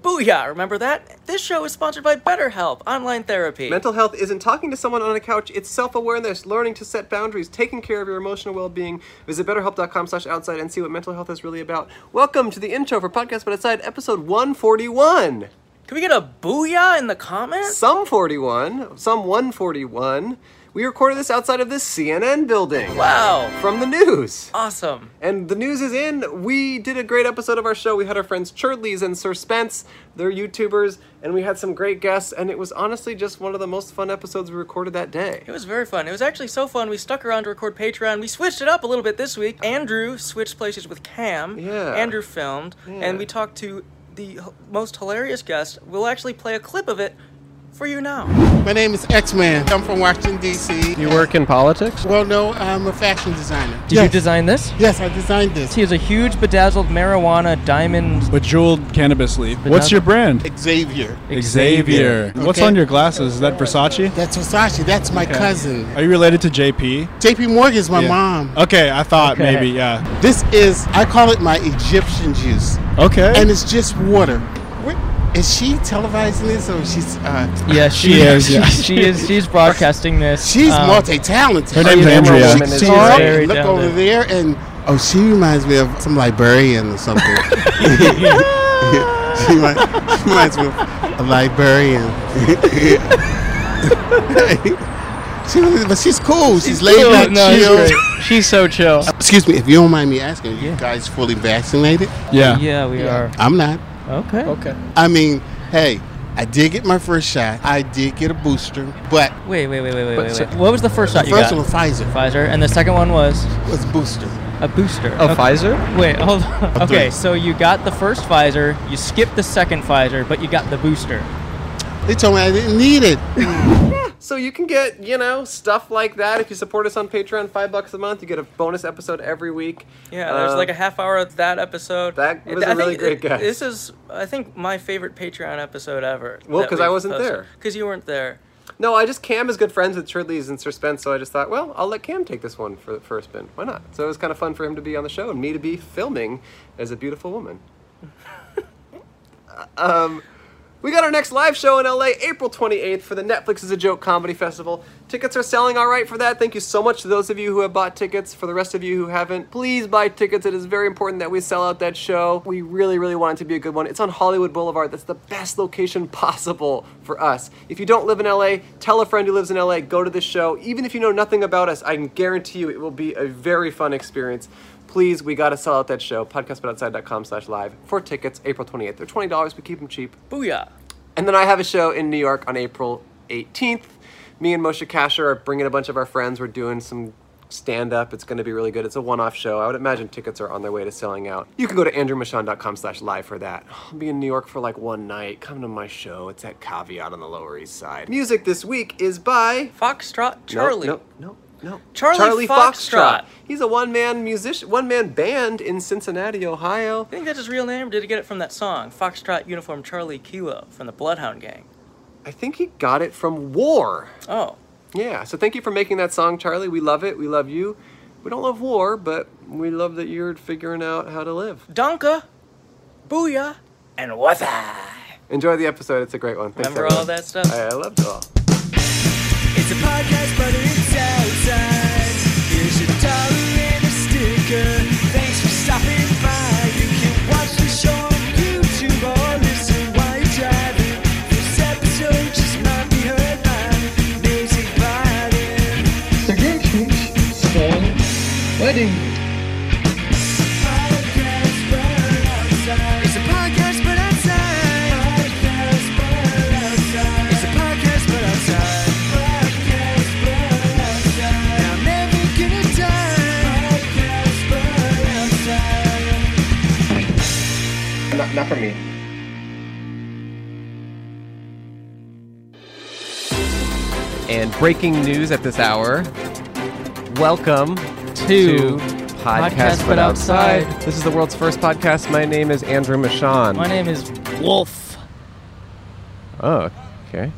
Booyah! Remember that? This show is sponsored by BetterHelp, online therapy. Mental health isn't talking to someone on a couch. It's self-awareness, learning to set boundaries, taking care of your emotional well-being. Visit betterhelp.com slash outside and see what mental health is really about. Welcome to the intro for Podcast But Outside, episode 141. Can we get a Booyah in the comments? Some 41, some 141. We recorded this outside of this CNN building. Wow! From the news. Awesome. And the news is in. We did a great episode of our show. We had our friends Churdleys and Sir Spence. They're YouTubers, and we had some great guests. And it was honestly just one of the most fun episodes we recorded that day. It was very fun. It was actually so fun. We stuck around to record Patreon. We switched it up a little bit this week. Andrew switched places with Cam. Yeah. Andrew filmed, and we talked to the h- most hilarious guest. We'll actually play a clip of it for you now. My name is X-Man. I'm from Washington, D.C. You work in politics? Well, no, I'm a fashion designer. Did you design this? Yes, I designed this. He has a huge bedazzled marijuana diamond. Bejeweled cannabis leaf. What's your brand? Xavier. Xavier. What's Okay. on your glasses? Is that Versace? That's Versace. That's my cousin. Are you related to JP? J.P. Morgan's my Yeah. mom. Okay, I thought Okay. maybe, yeah. This is, I call it my Egyptian juice, Okay. and it's just water. Where- Is she televising this, or she's uh, Yeah, she, She is, yeah. she is. She's broadcasting this. she's um, multi-talented? Her name's She- Andrea. She, Woman she's is all- very look over talented. there, and oh, she reminds me of some librarian or something. she, might, she reminds me of a librarian. she, really- but she's cool. She's, laid back, No, she's chill. great. She's so chill. Excuse me, if you don't mind me asking, you Yeah. guys fully vaccinated? yeah. Yeah, we I'm not. are. Okay. Okay. I mean, hey, I did get my first shot. I did get a booster, but Wait, wait, wait, wait, wait, But wait. so- wait. What was the first shot you first got? one was Pfizer. Pfizer, and the second one was Was booster. a booster. Oh, Of okay. Pfizer? Wait, hold on. Okay, three. so you got the first Pfizer, you skipped the second Pfizer, but you got the booster. They told me I didn't need it. So you can get, you know, stuff like that if you support us on Patreon, five bucks a month. You get a bonus episode every week. Yeah, there's Uh, like a half hour of that episode. that was a a really great guest. This is, I think, my favorite Patreon episode ever. Well, 'cause I wasn't there. Because you weren't there. No, I just Cam is good friends with Churdleys and Sir Spence, so I just thought, well, I'll let Cam take this one for for a spin. Why not? So it was kind of fun for him to be on the show and me to be filming as a beautiful woman. um, we got our next live show in LA, April 28th for the Netflix is a Joke Comedy Festival. Tickets are selling all right for that. Thank you so much to those of you who have bought tickets. For the rest of you who haven't, please buy tickets. It is very important that we sell out that show. We really, really want it to be a good one. It's on Hollywood Boulevard. That's the best location possible for us. If you don't live in LA, tell a friend who lives in LA, go to this show. Even if you know nothing about us, I can guarantee you it will be a very fun experience. Please, we gotta sell out that show. Podcastbutoutside.com slash live for tickets, April 28th. They're $20, we keep them cheap. Booyah. And then I have a show in New York on April 18th. Me and Moshe Kasher are bringing a bunch of our friends. We're doing some stand up. It's going to be really good. It's a one off show. I would imagine tickets are on their way to selling out. You can go to andrewmachon.com slash live for that. I'll be in New York for like one night. Come to my show. It's at Caveat on the Lower East Side. Music this week is by. Foxtrot No, Charlie. No, no, no. Charlie Foxtrot. He's a one man musician, one man band in Cincinnati, Ohio. I think that's his real name, or did he get it from that song? Foxtrot Uniform Charlie Kilo from the Bloodhound Gang. I think he got it from War. Oh. Yeah, so thank you for making that song, Charlie. We love it. We love you. We don't love war, but we love that you're figuring out how to live. Donka, Booyah, and Watha. Enjoy the episode. It's a great one. Thanks, Remember all everyone. that stuff? I loved it all. It's a podcast, but it's outside. Here's your dollar and a sticker. Thanks for stopping by. You can watch the show on YouTube or listen while you're driving. This episode just might be heard by music biting. Podcast, but outside. It's a podcast, but outside. Podcast, but outside. It's a podcast, but outside. Podcast, but outside. I'm never gonna die. Podcast, but outside. Not, not for me. And breaking news at this hour. Welcome Two. Podcast, Podcast But Outside. This is the world's first podcast. My name is Andrew Michon. My name is Wolf. Oh, okay.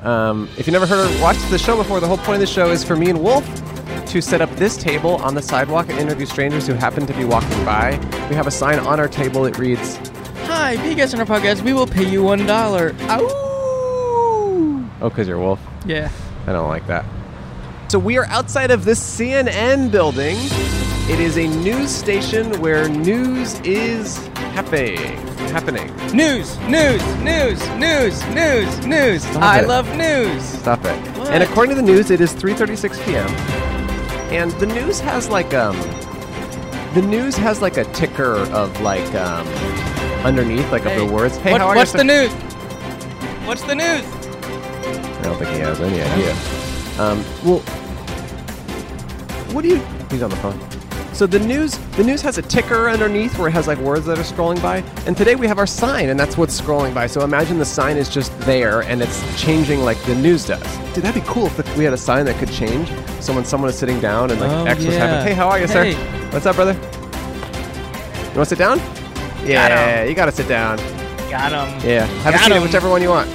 Um, if you never heard or watched the show before, the whole point of the show is for me and Wolf to set up this table on the sidewalk and interview strangers who happen to be walking by. We have a sign on our table that reads, Hi, if you guys on our podcast, we will pay you one dollar. Ow! Oh, because you're a wolf. Yeah. I don't like that. So we are outside of this CNN building. It is a news station where news is happening. Happening. News, news, news, news, news, news. I it. love news. Stop it. What? And according to the news, it is 3:36 p.m. And the news has like um, the news has like a ticker of like um, underneath like Hey, of the words. Hey, what- how are what's you? the news? What's the news? I don't think he has any idea. Um, well, what do you? He's on the phone. So the news, the news has a ticker underneath where it has like words that are scrolling by. And today we have our sign, and that's what's scrolling by. So imagine the sign is just there, and it's changing like the news does. Dude, that'd be cool if we had a sign that could change. So when someone is sitting down and like Oh, X was yeah. happening, hey, how are you, Hey. sir? What's up, brother? You want to sit down? Yeah, you gotta sit down. Got him. Yeah, have a Got seat of him. whichever one you want.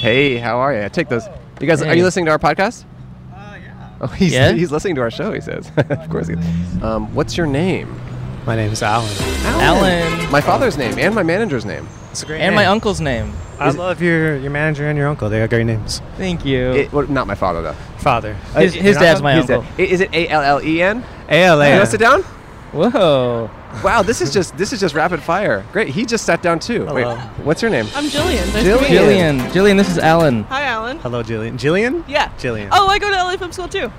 Hey, how are you? Take those. You guys, are Hey. you listening to our podcast? Uh, yeah. Oh, he's, Yeah? he's listening to our show. He says, "Of course." He um, what's your name? My name is Alan. Alan. My father's name and my manager's name. It's a great And my uncle's name. I love your your manager and your uncle. They got great names. Thank you. It, well, not my father though. Uh, Father. his his dad's my He's uncle. dead. I- Is it A L L E N? A L You A. want to sit down? Whoa. Wow, this is just this is just rapid fire. Great. He just sat down too. Wait, Hello. what's your name? I'm Jillian. Nice Jillian. to meet you. Jillian. Jillian, this is Alan. Hi, Alan. Hello, Jillian. Jillian? Yeah. Jillian. Oh, I go to LA Film School too.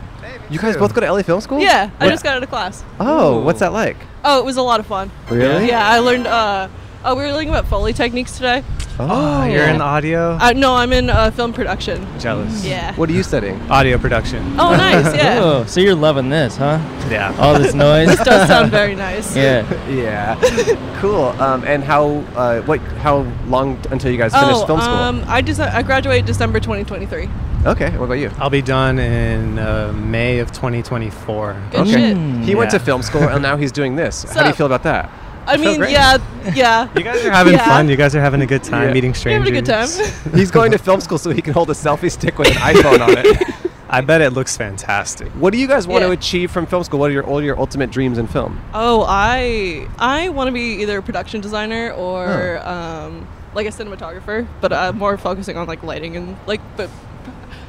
You guys both go to LA Film School? Yeah, I What- just got out of class. Oh, Ooh. what's that like? Oh, it was a lot of fun. Really? Yeah, I learned. Uh, oh, we were learning about foley techniques today. Oh, Oh. you're in audio. Uh, no, I'm in uh, film production. Jealous. Yeah. What are you studying? Audio production. Oh, nice. Yeah. Whoa. So you're loving this, huh? Yeah. All this noise. this does sound very nice. Yeah. Yeah, cool. Um, and how uh, what how long t- until you guys finish Oh, film school? um, I just I graduate December 2023. okay, what about you? I'll be done in uh, May of 2024. Good Okay. shit. Mm, He went to Yeah. film school and now he's doing this. how do you Sup? feel about that? I mean, great. yeah, yeah. You guys are having Yeah. fun. You guys are having a good time Yeah. meeting You're strangers. having a good time. He's going to film school so he can hold a selfie stick with an iPhone on it. I bet it looks fantastic. What do you guys want to Yeah. achieve from film school? What are your all your ultimate dreams in film? oh, I I want to be either a production designer or um, like a cinematographer, but uh, more focusing on like lighting and like. But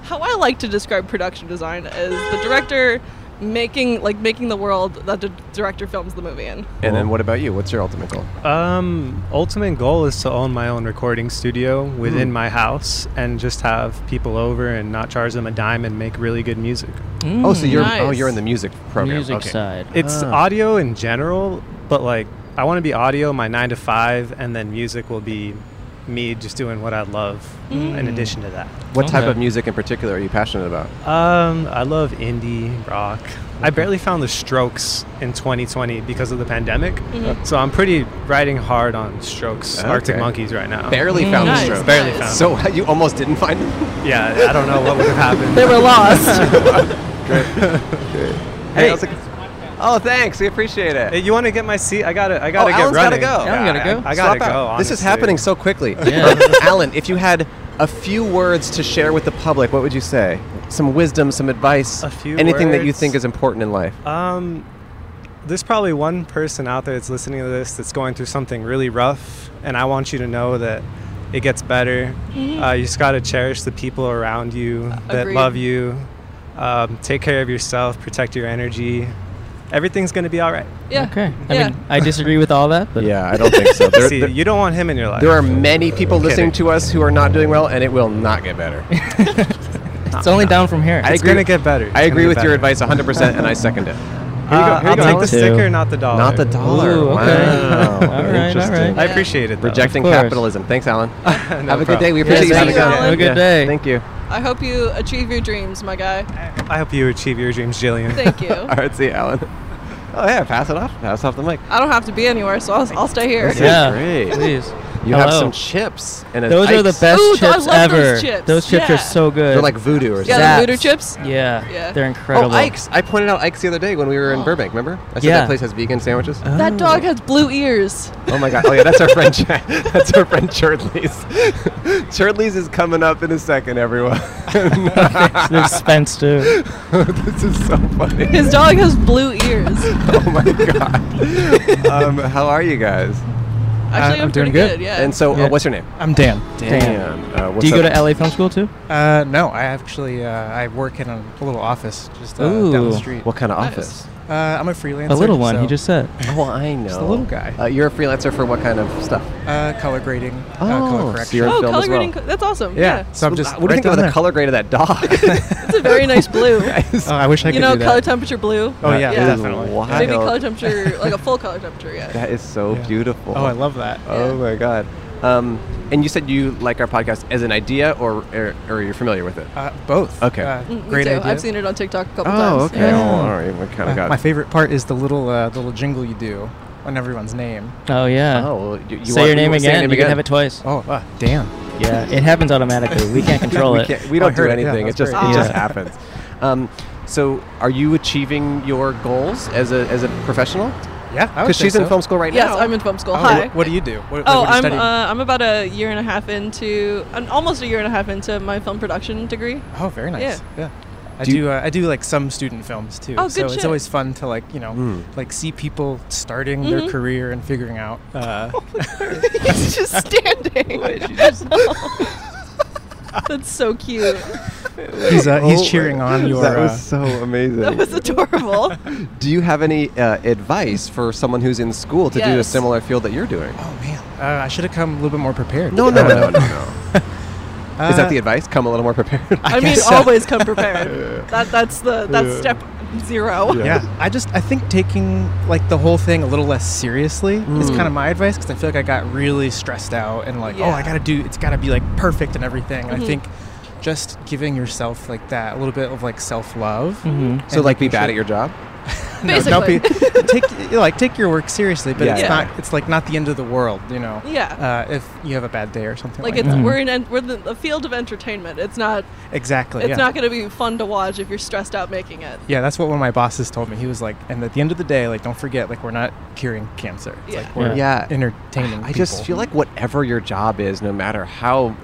how I like to describe production design is the director making like making the world that the director films the movie in. And then what about you? What's your ultimate goal? Um, ultimate goal is to own my own recording studio Hmm. within my house and just have people over and not charge them a dime and make really good music. oh, so you're oh nice. you're in the music program. Mm, Music okay. side. Ah. It's audio in general, but like I want to be audio my 9 to 5 and then music will be me just doing what I love Hmm. in addition to that. What type Okay. of music in particular are you passionate about? Um, I love indie rock. I barely found the Strokes in 2020 because of the pandemic. So I'm pretty riding hard on Strokes, Arctic Okay. Monkeys right now. Mm. Barely found Nice, the stroke. Barely nice. found. So you almost didn't find it. Yeah, I don't know what would have happened. They were lost. Hey, how's it- oh, thanks. We appreciate it. Hey, you want to get my seat? I gotta, I gotta Oh, get Alan's gotta running. go. Yeah, I'm I- gotta go. I, gotta Swap go. out. This is honestly. happening so quickly. Yeah. Um, Alan, if you had a few words to share with the public, what would you say? Some wisdom, some advice, A few anything that you words? think is important in life. Um, there's probably one person out there that's listening to this that's going through something really rough, and I want you to know that it gets better. Uh, you just gotta cherish the people around you that Mm-hmm. agreed. love you. Um, take care of yourself. Protect your energy. Everything's gonna be all right. yeah. Okay. I Yeah. mean, I disagree with all that, but yeah, I don't think so. There, See, there- you don't want him in your life. there are many people listening kidding. to us who are not doing well, and it will not get better. it's only down from here. it's agree- gonna get better. It's I gonna agree get with your better. advice 100%, and I second it. Uh, I'll take the sticker, not the dollar. Not the dollar. Ooh, okay. Wow. All right, all Interesting. right. I appreciate it. Though. Rejecting Of course. capitalism. Thanks, Alan. Have a good problem. day. We Yeah, appreciate you thank having you, us. Alan. Have a good day. Thank you. I hope you achieve your dreams, my guy. I hope you achieve your dreams, Jillian. Thank you. All right, see you, Alan. Oh, yeah, pass it off. Pass off the mic. I don't have to be anywhere, so I'll, I'll stay here. This is yeah. great. Please. You have Hello. some chips and a Those are the Ike's. best Ooh, I chips love those ever. chips. chips Yeah. are so good. They're like voodoo or something. Yeah, the Zaps. Luder chips. yeah, Yeah. they're Oh, incredible. Oh, Ike's! I pointed out Ike's the other day when we were in Burbank. Remember? I said that Yeah. place has vegan sandwiches. That dog has blue ears. oh my god! Oh yeah, that's our friend. Ch- that's our friend Churdley's. Churdley's is coming up in a second, everyone. They're Spence too. this is so funny. His dog has blue ears. Oh my god! um, how are you guys? Actually, I'm, I'm pretty doing good. good. Yeah. And so, Yeah. uh, what's your name? I'm Dan. Dan. Uh, what's Do you go up? to LA Film School too? Uh, no, I actually uh, I work in a, a little office just uh, down Ooh. the street. What kind of Nice. office? Uh, I'm a freelancer. A little one, so, he just said. Oh, I know. Just a little guy. Uh, you're a freelancer for what kind of stuff? uh, color grading. uh, Oh, color so correction. you're- oh, film color as well. grading. co- That's awesome. yeah. Yeah. So I'm just. what do you right think about down the color grade of that dog? It's a very nice blue. there. Oh, I wish I could you know, do that. color temperature blue. Oh yeah, Yeah. definitely. Wild. Maybe color temperature, like a full color temperature. Yeah. That is so Yeah. beautiful. Oh, I love that. Oh my god. Um, and you said you like our podcast as an idea, or or, or you're familiar with it? Uh, both. Okay. Uh, Mm, me great too. idea. I've seen it on TikTok a couple Oh, times. Yeah. Well, all right. We kind Uh, of got. my favorite part is the little uh, the little jingle you do on everyone's name. Oh yeah. Oh, well, you, you say want- your you name want to say your again. name You can again? have it twice. Oh, uh, damn. Yeah, it happens automatically. We can't control we, it. can't- we don't I do heard it, Oh, yeah, anything. it that's just great. it just Yeah. happens. Um, so, are you achieving your goals as a as a professional? Yeah, I would Because say she's in so. film school right Yes, now. I'm in film school. Oh, Hi. What, what do you do? What, Oh, what do you I'm study? uh, I'm about a year and a half into, an, almost a year and a half into my film production degree. Oh, very nice. Yeah. I Do do. you- uh, I do like some student films too. Oh, good so shit. it's always fun to like you know Hmm. like see people starting Mm-hmm. their career and figuring out. Uh, He's just standing. That's so cute. he's uh, Oh he's my- cheering on your. That uh, was so That amazing. was adorable. do you have any uh, advice for someone who's in school to do a Yes. similar field that you're doing? oh man, uh, I should have come a little bit more prepared. Oh, No, no, Uh, no, no, no. no. Is that uh, the advice? Come a little more prepared. I, mean, guess so. always come prepared. That that's the that's step zero. Yeah, Oh, I just I think taking like the whole thing a little less seriously is Mm. kind of my advice because I feel like I got really stressed out and like oh Yeah. Mm-hmm. I gotta do it's gotta be like perfect and everything. And I think just giving yourself like that a little bit of like self love. so, like, be bad at your job. No, don't Mm-hmm. Basically. be take you know, like take your work seriously, but Yeah, it's yeah. not it's like not the end of the world, you know. Yeah. Uh, if you have a bad day or something like, Like it's that. we're in en- we're in the, the field of entertainment. It's not exactly it's yeah. not going to be fun to watch if you're stressed out making it. yeah, that's what one of my bosses told me. He was like, and at the end of the day, like don't forget, like we're not curing cancer. It's Yeah. like we're Yeah. entertaining. I just people. feel like whatever your job is, no matter how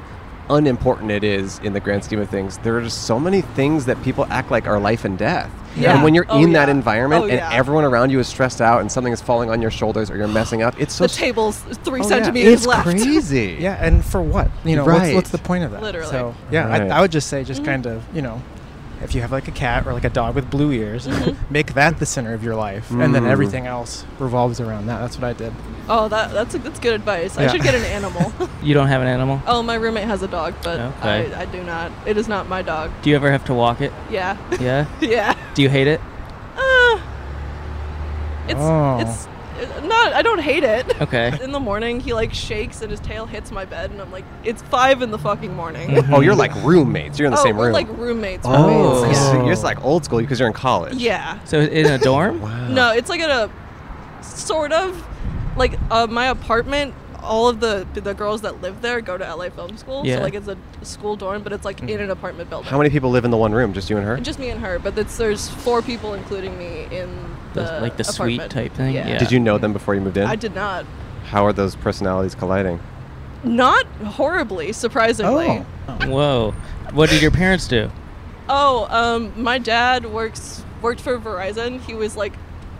unimportant it is in the grand scheme of things, there are just so many things that people act like are life and death. Yeah. And when you're Oh, in that yeah. environment Oh, and yeah. everyone around you is stressed out and something is falling on your shoulders or you're messing up, it's so The s- table's three Oh, yeah. centimeters it's left. crazy. Yeah, and for what? You know, what's, Right. what's the point of that? Literally. So, yeah, Right. I, I would just say, just kind of, you know, if you have like a cat or like a dog with blue ears, make that the center of your life, and then Mm. everything else revolves around that. That's what I did. Oh, that that's a, that's good advice. I Yeah. should get an animal. You don't have an animal. oh, my roommate has a dog, but Okay. I, I do not. It is not my dog. Do you ever have to walk it? Yeah. Yeah. yeah. Do you hate it? Uh, it's Oh. it's uh, not I don't hate it. Okay. In the morning, he like shakes and his tail hits my bed, and I'm like, it's five in the fucking morning. Oh, you're like roommates. You're in the oh, same we're room. like roommates. oh, roommates. so Yeah. you're just like old school because you're in college. yeah. So i- in a dorm? No, it's like at a sort of like uh, my apartment. All of the the girls that live there go to LA Film School, Yeah. Mm. so like it's a school dorm, but it's like in an apartment building. How many people live in the one room? Just you and her? Just me and her, but it's, there's four people including me in the, The- like the suite apartment. type thing? Yeah. Did you know them before you moved in? I did not. How are those personalities colliding? Not horribly, surprisingly. Oh. Whoa. What did your parents do? Oh, um, my dad works worked for Verizon. He was like,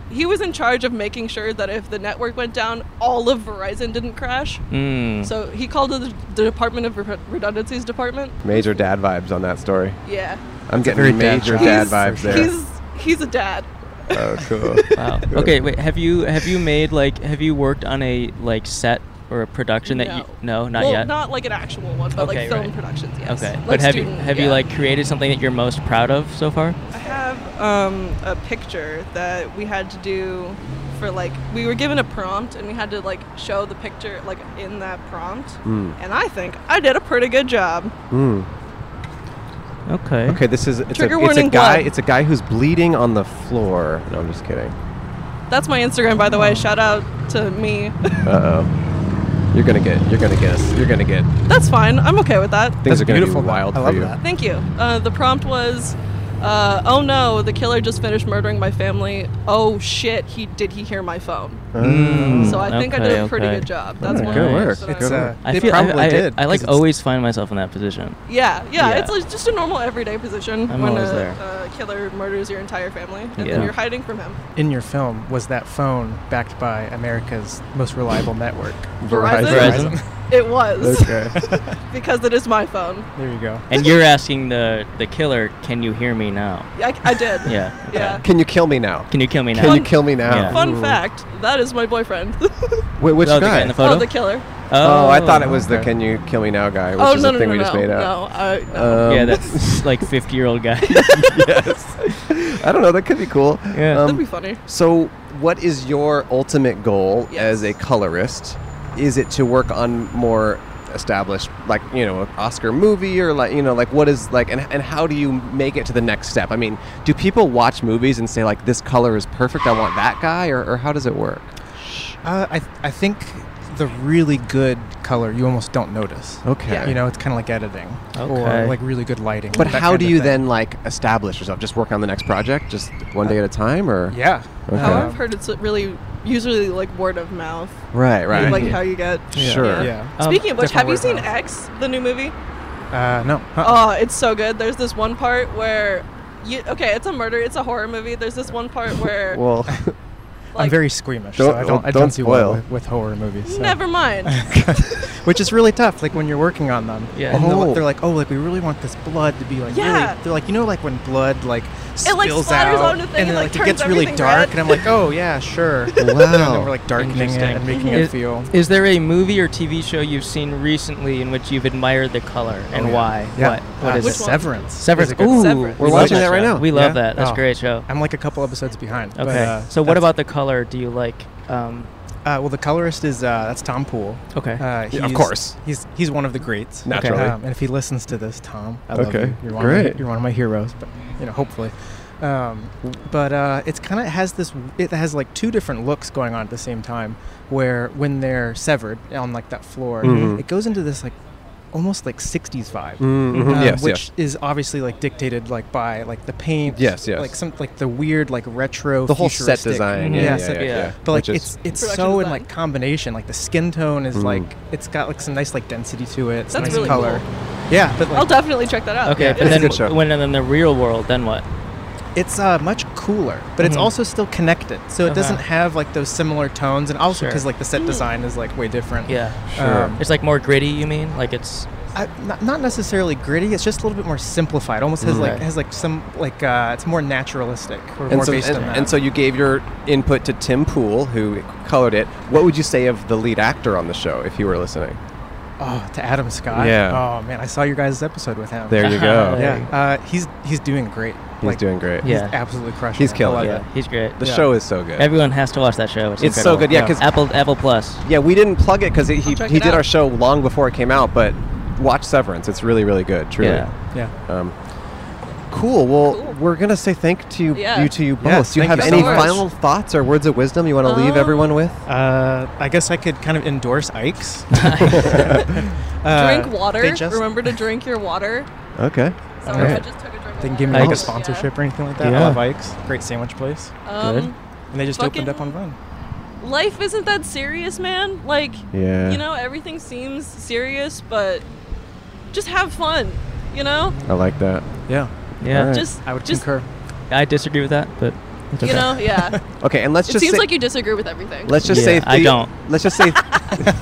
he was in charge of making sure that if the network went down, all of Verizon didn't crash. Mm. So he called the, the Department of Re- Redundancies Department. Major dad vibes on that story. Yeah, I'm getting very dad major job. dad, He's- vibes there. He's he's a dad. Oh, cool. Wow. Okay. Wait. Have you have you made like have you worked on a like set or a production that you no not well, yet. Not like an actual one, but like Okay, film right. productions. Yes. Okay. Like but have you student- have you yeah. like created something that you're most proud of so far? I have um, a picture that we had to do for like we were given a prompt and we had to like show the picture like in that prompt. Hmm. And I think I did a pretty good job. Okay. Hmm. Okay, this is it's, Trigger a, it's a warning, guy. blood. It's a guy who's bleeding on the floor. No, I'm just kidding. That's my Instagram, by the way. Shout out to me. Uh oh, you're gonna get. You're gonna get. You're gonna get. That's fine. I'm okay with that. Things That's are gonna beautiful, be though. wild I for love you. that. Thank you. Uh, the prompt was Uh, oh no, the killer just finished murdering my family. Oh shit, he did he hear my phone? so I think I did a Mm. okay, pretty okay. Oh. good job. That's Hmm. one Alright, good of the work, things that It's, I- uh, I they feel I- probably I, did. I, 'cause like it's- always find myself in that position. yeah, yeah, Yeah. it's like just a normal everyday position I'm when a, always there. uh killer murders your entire family and Yeah. then you're hiding from him. in your film was that phone backed by America's most reliable network. Verizon. Verizon. It was Okay. because it is my phone. there you go. and you're asking the the killer, "Can you hear me now?" I, I did. Yeah. okay. Yeah. Can you kill me now? Can you kill me now? Can you kill me now? Yeah. Fun fact: that is my boyfriend. Wait, which Oh, the guy guy? in the photo? oh, the killer. Oh, I thought it was the okay. "Can you kill me now" guy, which oh is no a no thing no we no just made up. no. I, no. Um, yeah, that's like 50 year old guy. yes. I don't know. That could be cool. Um, Yeah. That'd be funny. So, what is your ultimate goal as a colorist? Is it to work on more established, like you know, an Oscar movie, or like you know, like what is like, and and how do you make it to the next step? I mean, do people watch movies and say like, this color is perfect, I want that guy, or, or how does it work? Uh, I, th- I think the really good color you almost don't notice. Okay. You know, it's kind of like editing Okay. or like really good lighting. But that how kind do of you thing. then like establish yourself? Just work on the next project, just one day at a time, or Yeah. Okay. How Um, I've heard it's really usually like word of mouth, right, right, like how you get. yeah, sure. Yeah. Um, Speaking of which, have you seen definitely word X, the new movie? Uh, no. Uh-uh. Oh, it's so good. There's this one part where, you okay, it's a murder, it's a horror movie. There's this one part where, Well, like, I'm very squeamish, so Don't- I well, don't, I don't don't do well spoil. with, with horror movies. so- never mind. Which is really tough, like when you're working on them. Yeah. And they're li- Oh. they're like, oh, like we really want this blood to be like Yeah. really. They're like, you know, like when blood like spills It, like, splatters out onto thing and, and like, then like, it turns gets really everything dark, red. and I'm like, oh yeah, sure. Wow. And then Wow. we're like darkening it Interesting. and making it Is- feel. Is there a movie or TV show you've seen recently in which you've admired the color and Oh, yeah. why? Yeah. What? What Uh, is Which it? one? Severance. Severance. is a good- Ooh, Severance. we We're love watching that that right show. now. We love Yeah? that. That's Oh. a great show. I'm like a couple episodes behind. but, Okay. uh, so what that's- about the color? Do you like? Um, Uh, well, the colorist is uh, that's Tom Poole. okay. Uh, Yeah, of he's- course. He's he's one of the greats. Naturally. Um, and if he listens to this, Tom, I love Okay, you. You're one of my- great. you're one of my heroes, but you know, hopefully. Um, but uh, it's kind of has this. It has like two different looks going on at the same time. Where when they're severed on like that floor, Mhm. it goes into this like almost like 60s vibe. Mhm, uh, yes, which yes. is obviously like dictated like by like the paint. Yes, yes. Like some like the weird like retro. the whole set futuristic- design. Yeah, Yeah, yeah, set- yeah, yeah. yeah. but like Which is- it's it's Production so in design. like combination. Like the skin tone is Mm. like it's got like some nice like density to it. It's That's nice really color. Yeah, but I'll like definitely check that out. okay. Yeah. but it's a then good show. w- when and then the real world, then what? it's uh, much cooler. But it's Mm-hmm. Mhm. also still connected, so it Okay. doesn't have like those similar tones. And also because Sure. like the set design is like way different. Yeah. Sure. It's like more gritty. You mean? Like it's I, not, not necessarily gritty. It's just a little bit more simplified. Almost has like Okay. has like some like uh, it's more naturalistic or And more so, based and, on that. and so you gave your input to Tim Pool, who colored it. What would you say of the lead actor on the show if you were listening? oh, to Adam Scott. Yeah. Oh man, I saw your guys' episode with him. There you go. Yeah. Yeah. Uh, he's he's doing great. He's doing great. Yeah. He's absolutely crushing. He's it. I killing love it. yeah. He's great. The Yeah. show is so good. Everyone has to watch that show. It's, It's so incredible. good, yeah, 'cause- Apple Apple Plus. yeah, we didn't plug it because he, he I'll check did it out. our show long before it came out, but watch Severance. It's really, really good. Truly. Yeah. Yeah. Um, cool. Well, Cool. we're going to say thank to you, Yeah. you to you both. Yes, Do you thank have you so any much. final thoughts or words of wisdom you want to leave Um, everyone with? Uh, I guess I could kind of endorse Ike's. Uh, Drink water. They just, Remember to drink your water. Okay. Sorry, I Alright. just took a drink. They of can give me water. like a Ike's. sponsorship or anything like that. Oh, I Yeah. love Ike's. Great sandwich place. Um, And they just opened up on Fucking- Vine. life isn't that serious, man. Like, Yeah. you know, everything seems serious, but just have fun. You know, I like that. Yeah. Yeah. Alright. just I would just concur. I disagree with that, but it's you okay. know, yeah. Okay, and let's it just seems say, like you disagree with everything. Let's just Yeah, say I don't. Let's just say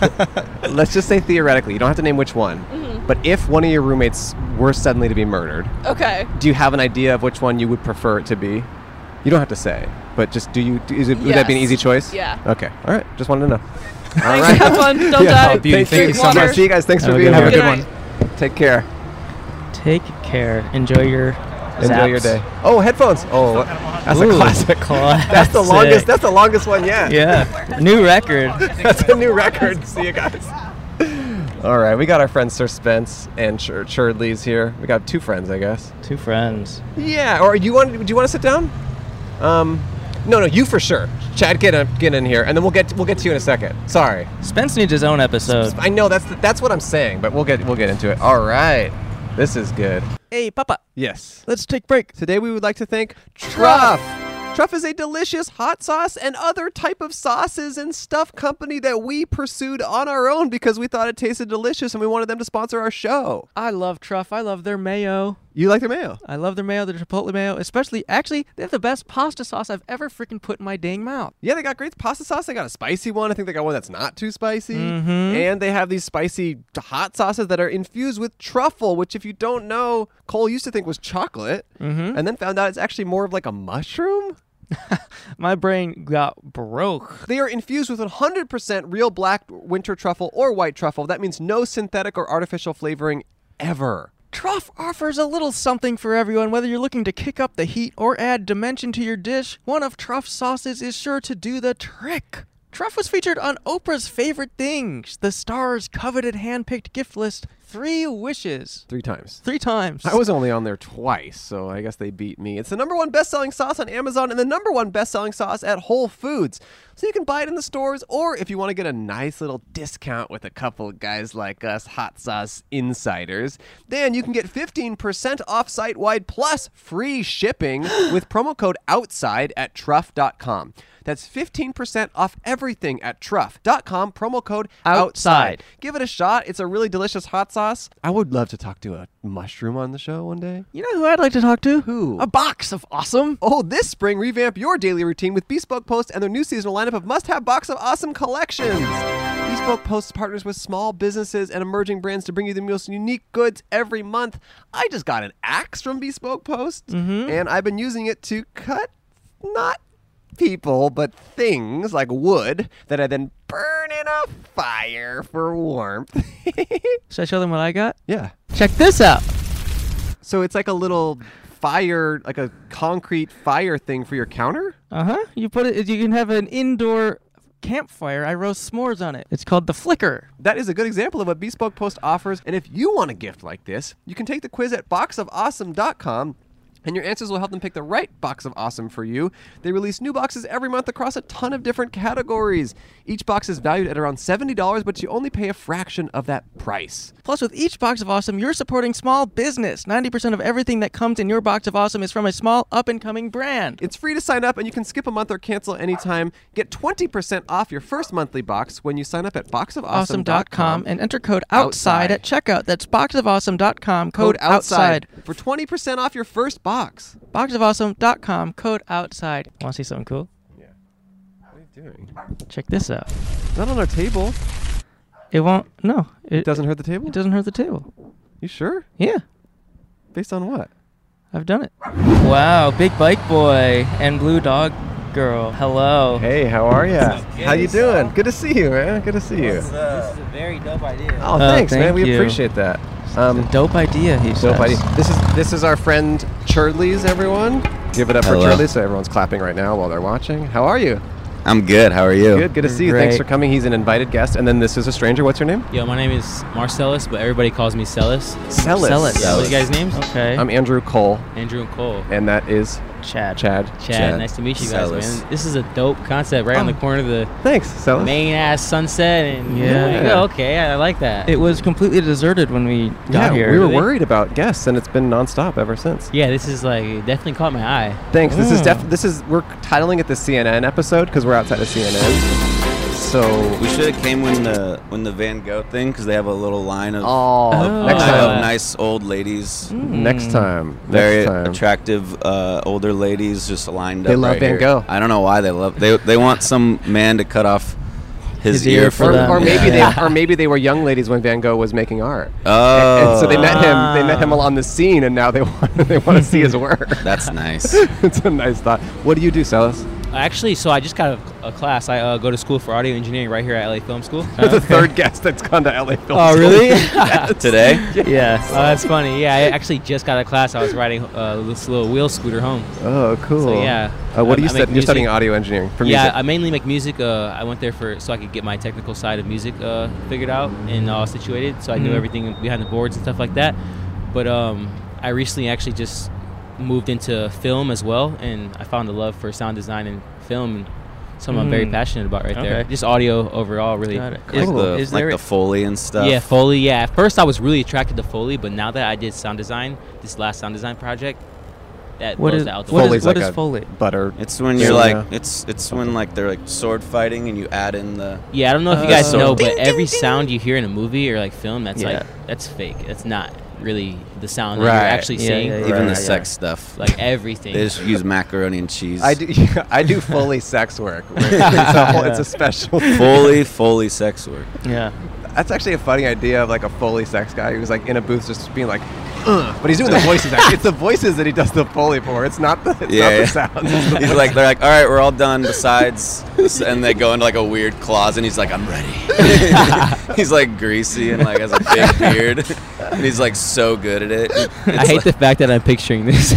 let's just say theoretically. You don't have to name which one, Mm-hmm. but if one of your roommates were suddenly to be murdered, okay. do you have an idea of which one you would prefer it to be? You don't have to say, but just do you? do- Is it, Would that be an Yes. easy choice? Yeah. Okay. All right. Just wanted to know. All Thanks. right. Have fun. Don't Yeah. die. Oh, beauty. Drink Thank you so water. See you guys. Thanks Have for a being good here. one. Good night. Take care. Take care. Enjoy your. Enjoy your zaps. day. Oh, headphones. Oh, that's a Ooh, classic. classic. That's the longest. That's the longest one yet. yeah. New record. That's a new record. See you guys. All right, we got our friend Sir Spence and Chur- Churdley's here. We got two friends, I guess. Two friends. Yeah. Or you want? Do you want to sit down? Um, no, no, you for sure. Chad, get in, get in here, and then we'll get we'll get to you in a second. Sorry, Spence needs his own episode. I know that's that's what I'm saying, but we'll get we'll get into it. All right. This is good. Hey, Papa, Yes. let's take break. Today we would like to thank Truff. Truff is a delicious hot sauce and other type of sauces and stuff company that we pursued on our own because we thought it tasted delicious and we wanted them to sponsor our show. I love Truff. I love their mayo. You like their mayo? I love their mayo, their chipotle mayo, especially. Actually, they have the best pasta sauce I've ever freaking put in my dang mouth. Yeah, they got great pasta sauce. They got a spicy one. I think they got one that's not too spicy. Mm-hmm. And they have these spicy hot sauces that are infused with truffle, which, if you don't know, Cole used to think was chocolate Mm-hmm. and then found out it's actually more of like a mushroom. My brain got broke. They are infused with 100% real black winter truffle or white truffle. That means no synthetic or artificial flavoring ever. Truff offers a little something for everyone, whether you're looking to kick up the heat or add dimension to your dish. One of Truff's sauces is sure to do the trick. Truff was featured on Oprah's Favorite Things, the star's coveted handpicked gift list, Three Wishes. Three times. Three times. I was only on there twice, so I guess they beat me. It's the number one best selling sauce on Amazon and the number one best selling sauce at Whole Foods. So you can buy it in the stores, or if you want to get a nice little discount with a couple of guys like us, hot sauce insiders, then you can get 15% off site wide plus free shipping with promo code OUTSIDE at truff.com. That's 15% off everything at truff.com, promo code Outside. outside. Give it a shot. It's a really delicious hot sauce. I would love to talk to a mushroom on the show one day. You know who I'd like to talk to? Who? A box of awesome. Oh, this spring, revamp your daily routine with Bespoke Post and their new seasonal lineup of must have box of awesome collections. Bespoke Post partners with small businesses and emerging brands to bring you the most unique goods every month. I just got an axe from Bespoke Post, Mm-hmm. and I've been using it to cut not people, but things like wood that I then burn in a fire for warmth. Should I show them what I got? yeah. Check this out. So it's like a little fire, like a concrete fire thing for your counter? Uh huh. You put it. You can have an indoor campfire. I roast s'mores on it. It's called the Flicker. That is a good example of what Bespoke Post offers. And if you want a gift like this, you can take the quiz at boxofawesome.com. And your answers will help them pick the right box of awesome for you. They release new boxes every month across a ton of different categories. Each box is valued at around $70, but you only pay a fraction of that price. Plus, with each box of awesome, you're supporting small business. 90% of everything that comes in your box of awesome is from a small up and coming brand. It's free to sign up, and you can skip a month or cancel anytime. Get 20% off your first monthly box when you sign up at boxofawesome.com Awesome.com and enter code outside, at checkout. That's boxofawesome.com, code outside. for 20% off your first box. Boxofawesome.com, code outside. Want to see something cool? Doing. Check this out. Not on our table. It won't, no. It, Doesn't hurt the table? it doesn't hurt the table. You sure? Yeah, Based on what? I've done it. Wow, Big Bike Boy and Blue Dog Girl. Hello. Hey, how are you? How you doing? Good to see you, man. Good to see you. This is a very dope idea. Oh, thanks, man. Uh, thank We you. appreciate that. Um, Dope idea, he dope says. idea. This is This is our friend Churdley's, everyone. Give it up Hello. for Churdley so everyone's clapping right now while they're watching. How are you? I'm good. How are you? Good, good to see you. Thanks for Great. coming. He's an invited guest. And then this is a stranger. What's your name? Yo, my name is Marcellus, but everybody calls me Cellus. Celis. Sell it. What are you guys' names? Okay. I'm Andrew Cole, Andrew and Cole. and that is Chad. Chad. Chad, Chad. nice to meet you guys, Cellus. man. This is a dope concept right on the corner of the Oh. Thanks, Celis. main ass sunset. And Yeah. There you go. Okay, I like that. It was completely deserted when we Yeah, got here. we were worried about guests, and it's been nonstop ever since. yeah, this is like it definitely caught my eye. Thanks. This is Mm. def- this is we're titling it the CNN episode because we're outside of CNN. So We should have came when the Uh, when the Van Gogh thing, because they have a little line of, oh, Oh. next line time, of nice old ladies, next time, very next time. attractive uh, older ladies, just lined They up. love right Van here. Gogh. I don't know why they love. They they want some man to cut off his, His ear for or, them. or maybe Yeah. they or maybe they were young ladies when Van Gogh was making art. Oh, And so they met him. They met him on the scene, and now they want they want to see his work. That's nice. it's a nice thought. What do you do, Celis? Actually, so I just got a, a class. I uh, go to school for audio engineering right here at LA Film School. You're the third guest that's gone to LA Film. oh, School. really? Today, Yeah. Oh, that's funny. Yeah, I actually just got a class. I was riding uh, this little wheel scooter home. Oh, cool. So, yeah. Uh, what do I- you I make study? You're studying music. audio engineering for yeah, music. I mainly make music. Uh, I went there for so I could get my technical side of music uh, figured out and all situated. So I Mm-hmm. knew Mhm. everything behind the boards and stuff like that. But um, I recently actually just moved into film as well, and I found a love for sound design and film. And something I'm very Mm. passionate about right there. Okay. Just audio overall, really. Got it. Is- Like the- is like there the a- Foley and stuff. Yeah, Foley. Yeah, at first I was really attracted to Foley, but now that I did sound design, this last sound design project, that What blows is- that out the what water. is- Foley's what like is a Foley? butter It's when you're thing, like yeah. it's it's when like they're like sword fighting and you add in the Yeah, I don't know if you the guys sword. know, but every sound you hear in a movie or like film, that's Yeah. like that's fake. That's not really the sound that Right. you're actually Yeah, seeing. yeah, yeah, Even the yeah. sex stuff. like everything. They just use macaroni and cheese. I do. I do fully sex work. It's a, whole, it's a special. Fully, fully sex work. Yeah. That's actually a funny idea of like a fully sex guy who's like in a booth just being like, Ugh, but he's doing the voices. actually. It's the voices that he does the Foley for. It's not the, it's Yeah, yeah. not the sounds. he's like they're like, all right, we're all done. Besides, this," and they go into like a weird closet. and He's like, I'm ready. he's like greasy and like has a big beard, and he's like so good at it. I hate the fact that I'm picturing this.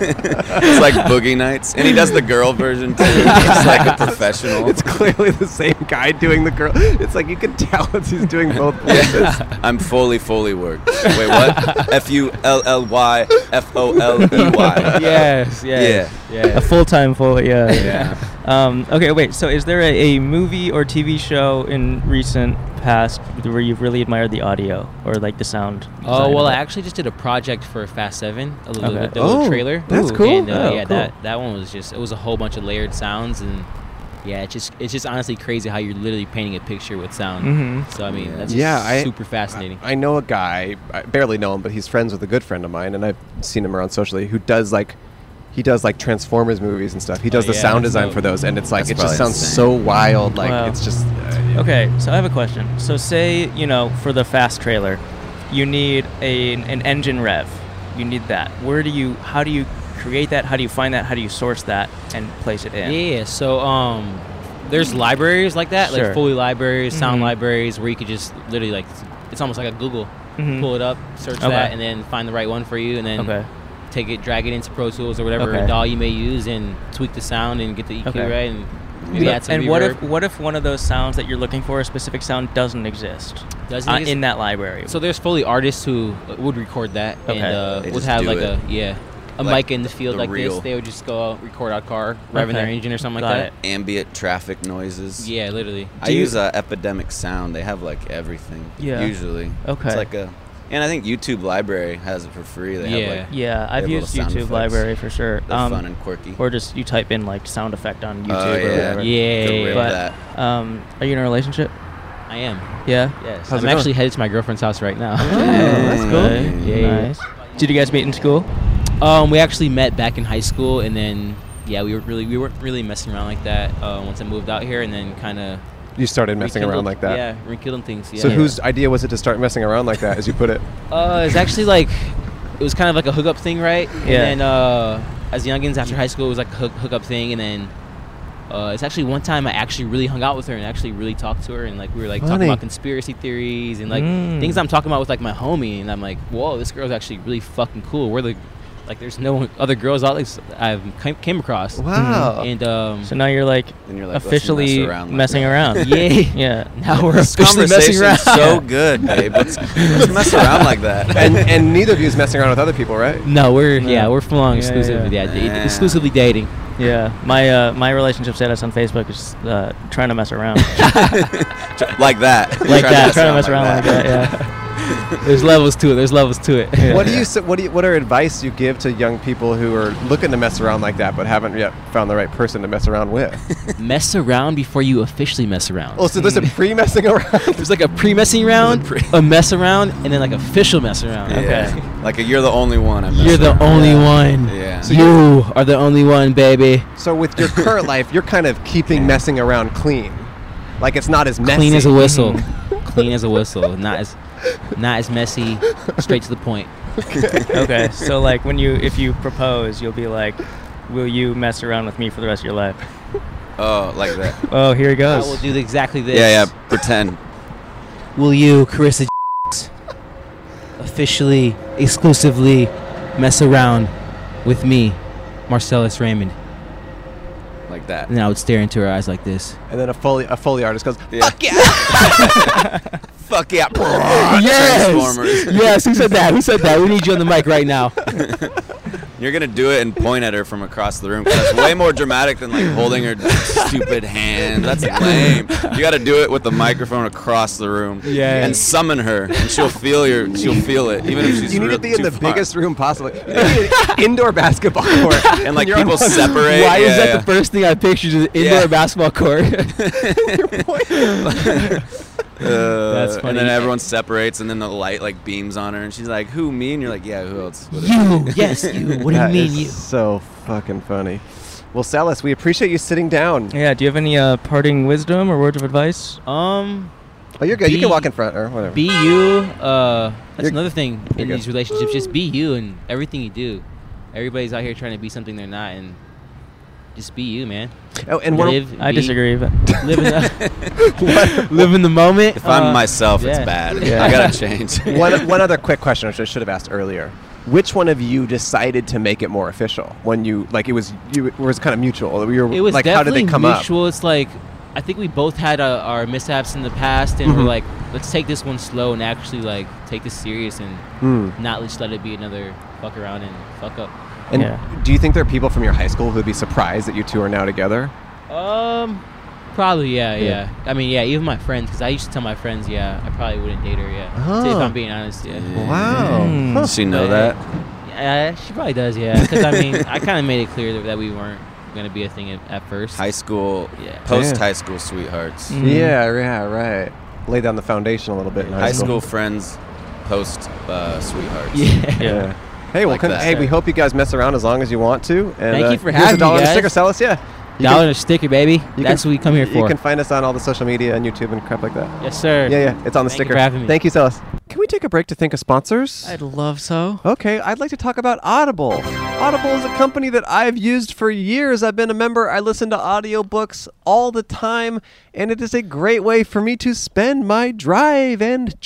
It's like boogie nights, and he does the girl version too. He's like a professional. It's clearly the same guy doing the girl. It's like you can tell it's, he's doing both voices. I'm fully, fully worked. Wait, what? F U L L Y F O L E Y. Yes, yes, Yeah. A full time full, yeah. Yeah. Um, okay, wait. So, is there a, a movie or TV show in recent past where you've really admired the audio or like the sound? Oh design well, of I it? actually just did a project for Fast Seven, a little, Okay. the little Oh, trailer. that's cool. And, uh, Oh, yeah, cool. that that one was just it was a whole bunch of layered sounds and yeah, it's just it's just honestly crazy how you're literally painting a picture with sound. Mm-hmm. Mhm. So I mean, that's yeah, I- just super fascinating. I know a guy, I barely know him, but he's friends with a good friend of mine, and I've seen him around socially. Who does like, he does like Transformers movies and stuff. He Oh, does the yeah, sound that's design dope. for those, and it's like That's it just probably sounds insane. so wild. Like Wow. it's just uh, Okay, so I have a question. So, say, you know, for the fast trailer, you need a, an engine rev. You need that. Where do you, how do you create that? How do you find that? How do you source that and place it in? Yeah, so um, there's libraries like that, Sure. like Foley libraries, sound Mhm. libraries, where you could just literally like, it's almost like a Google, Mhm. pull it up, search Okay. that, and then find the right one for you, and then Okay. take it, drag it into Pro Tools or whatever Okay. DAW you may use, and tweak the sound and get the EQ Okay. right, and maybe add some and what reverb. if what if one of those sounds that you're looking for, a specific sound, doesn't exist? Doesn't uh, exist? in that library. So there's Foley artists who uh, would record that Okay. and uh, They would just have do like it. a yeah a Like mic in the field the like real- this. They would just go out, record out car, revving their Okay. engine or something Got like it. Ambient traffic noises. Yeah, literally. I Do you- use uh, Epidemic Sound. They have like everything. Yeah. Usually. Okay. It's like a, and I think YouTube Library has it for free. They yeah, Have like, yeah. they I've have little used sound YouTube effects. Library for sure. Um, They're Um, fun and quirky. Or just you type in like sound effect on YouTube Oh, or yeah. whatever. Yeah, Go yeah, rip yeah. But um, are you in a relationship? that. I am. Yeah. Yes. How's I'm it going? actually headed to my girlfriend's house right now. Oh, that's cool. Yeah. yeah. Nice. Did you guys meet in school? Um, we actually met back in high school, and then yeah, we were really we weren't really messing around like that. Uh, once I moved out here, and then kind of you started messing around like that. Yeah, rekindling things. Yeah. So whose idea was it to start messing around like that, as you put it? Uh, it's actually like it was kind of like a hookup thing, right? And Yeah. then uh, as youngins after high school, it was like a hook, hookup thing, and then uh, it's actually one time I actually really hung out with her and actually really talked to her, and like we were like Funny. talking about conspiracy theories and like Mm. things I'm talking about with like my homie, and I'm like, whoa, this girl's actually really fucking cool. We're the like, there's no other girls out there I've came, came across. Wow. And um, So now you're like, Then you're like, let's mess officially around like messing that. around. Yeah. yeah. Now we're This officially messing around. conversation's so good, babe. Let's, let's mess around like that. and, and neither of you is messing around with other people, right? No, we're yeah, we're full on Yeah, exclusively yeah. yeah. d- exclusively dating. Yeah, my uh, my relationship status on Facebook is uh, trying to mess around. like that. like that, trying to mess around like that. yeah. There's levels to it. There's levels to it. What do you s- what do you, what are advice you give to young people who are looking to mess around like that but haven't yet found the right person to mess around with? mess around before you officially mess around. Oh, so there's a pre messing around. There's like a pre messing round, a mess around, and then like official mess around. Okay. Like a, you're the only one. I'm You're the messing around. only one. Yeah. you are the only one, baby. So with your current life, you're kind of keeping messing around clean, like it's not as messy. Clean as a whistle. Clean as a whistle. Not as not as messy. Straight to the point. okay, so like when you if you propose, you'll be like, "Will you mess around with me for the rest of your life?" Oh, like that. Oh, here he goes. I will do exactly this. Yeah, yeah. Pretend. Will you, Carissa, officially, exclusively mess around with me, Marcellus Raymond? Like that. And I would stare into her eyes like this. And then a foley a foley artist goes, "Fuck yeah, fuck yeah." yes! Transformers. yes, who said that? Who said that? We need you on the mic right now. You're gonna do it and point at her from across the room. 'cause That's way more dramatic than like holding her stupid hand. That's lame. You got to do it with the microphone across the room. Yeah. And summon her, and she'll feel your. She'll feel it, even if she's you need real- to be in too the far. biggest room possible. You need an indoor basketball court, And, like, people separate. Why is Yeah, that yeah. the first thing I pictured? Is an Yeah. indoor basketball court. Uh, That's And funny. then everyone separates, and then the light like beams on her, and she's like, "Who me?" And you're like, "Yeah, who else?" You, yes, you. What do you mean, you? So fucking funny. Well, Salas, we appreciate you sitting down. Yeah. Do you have any uh, parting wisdom or words of advice? Um. Oh, you're good. you can walk in front or whatever. Be you. Uh, that's another thing in good. these relationships. Just be you and everything you do. Everybody's out here trying to be something they're not, and just be you, man. Oh, and one of- live. I be- disagree, but- live in the What? live in the moment. If I'm Uh, myself, it's yeah. bad. I gotta change. one, one other quick question, which I should have asked earlier. Which one of you decided to make it more official when you like it was you it was kind of mutual? We were It was like, how did definitely they come up? mutual. It's like I think we both had uh, our mishaps in the past, and Mhm. we're like, let's take this one slow and actually like take this serious and Mm. not just let it be another fuck around and fuck up. And do you think there are people from your high school who'd be surprised that you two are now together? Um, probably yeah, Yeah. yeah. I mean, yeah, even my friends, because I used to tell my friends, yeah, I probably wouldn't date her, yeah. If Oh. I'm being honest, yeah. Wow. Hmm. Huh. Does she know But- that? Yeah, she probably does, yeah. Because I mean, I kind of made it clear that, that we weren't gonna be a thing at, at first. High school, yeah. post high school sweethearts, Mm-hmm. Yeah, yeah, right. Lay down the foundation a little bit in high, high school friends, post uh, sweethearts. Yeah. Hey, well, Like con- that. hey, we hope you guys mess around as long as you want to. And, Thank uh, you for here's having a me, dollar and a guys. sticker, Salas. Yeah. You Dollar can- and a sticker, baby. you That's can- what we come here You for. can find us on all the social media and YouTube and crap like that. Yes, sir. Yeah, yeah. It's on Thank you the sticker. for having me. Thank you, Salas. Can we take a break to think of sponsors? I'd love so. Okay, I'd like to talk about Audible. Audible is a company that I've used for years. I've been a member. I listen to audiobooks all the time, and it is a great way for me to spend my drive and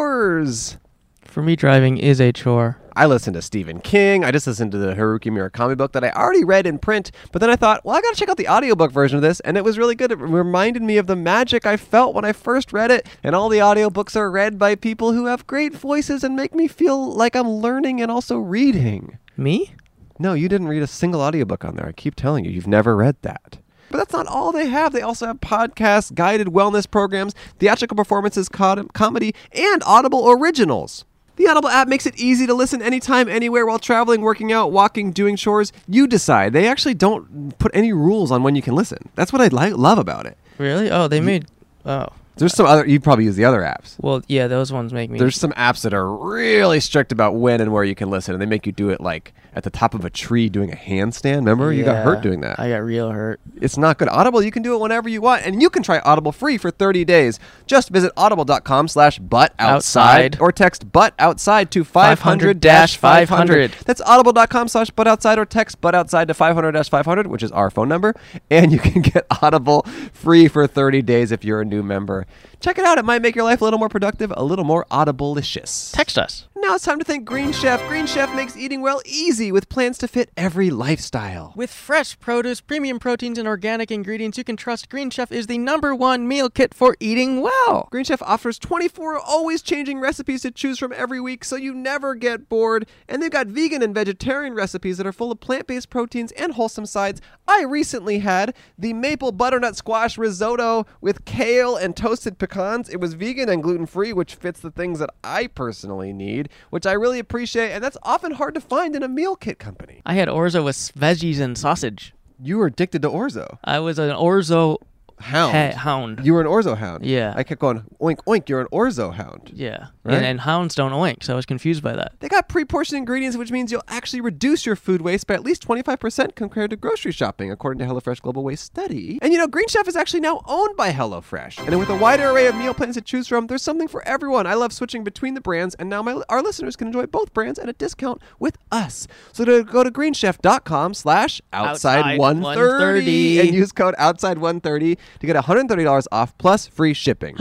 chores. For me, driving is a chore. I listened to Stephen King. I just listened to the Haruki Murakami book that I already read in print, but then I thought, well, I got to check out the audiobook version of this, and it was really good. It reminded me of the magic I felt when I first read it, and all the audiobooks are read by people who have great voices and make me feel like I'm learning and also reading. Me? No, you didn't read a single audiobook on there. I keep telling you, you've never read that. But that's not all they have. They also have podcasts, guided wellness programs, theatrical performances, com- comedy, and Audible originals. The Audible app makes it easy to listen anytime, anywhere while traveling, working out, walking, doing chores. You decide. They actually don't put any rules on when you can listen. That's what I li- love about it. Really? Oh, they made. Oh, There's some other, you probably use the other apps. well, yeah, those ones make me. There's some apps that are really strict about when and where you can listen, and they make you do it like at the top of a tree doing a handstand. Remember? You got hurt Yeah, doing that. I got real hurt. It's not good. Audible, you can do it whenever you want, and you can try Audible free for 30 days. Just visit audible.com slash butt outside Outside. or text butt outside to 500 500. That's audible.com slash butt outside or text butt outside to 500 500, which is our phone number. And you can get Audible free for 30 days if you're a new member. Check it out. It might make your life a little more productive, a little more audible-licious. Text us. Now it's time to thank Green Chef. Green Chef makes eating well easy with plans to fit every lifestyle. With fresh produce, premium proteins, and organic ingredients, you can trust Green Chef is the number one meal kit for eating well. Green Chef offers 24 always changing recipes to choose from every week so you never get bored. And they've got vegan and vegetarian recipes that are full of plant based proteins and wholesome sides. I recently had the maple butternut squash risotto with kale and toasted pecans. It was vegan and gluten free, which fits the things that I personally need, which I really appreciate. And that's often hard to find in a meal kit company. I had orzo with s- veggies and sausage. You were addicted to orzo. I was an orzo Hound. he- hound. You were an orzo hound. Yeah. I kept going, oink, oink, you're an orzo hound. Yeah. Right? And, and hounds don't oink, so I was confused by that. They got pre portioned ingredients, which means you'll actually reduce your food waste by at least 25% compared to grocery shopping, according to HelloFresh Global Waste Study. And you know, Green Chef is actually now owned by HelloFresh. And with a wider array of meal plans to choose from, there's something for everyone. I love switching between the brands, and now my, our listeners can enjoy both brands at a discount with us. So to go to greenchef.com slash outside Outside 130 130. and use code outside 130 to get $130 off plus free shipping.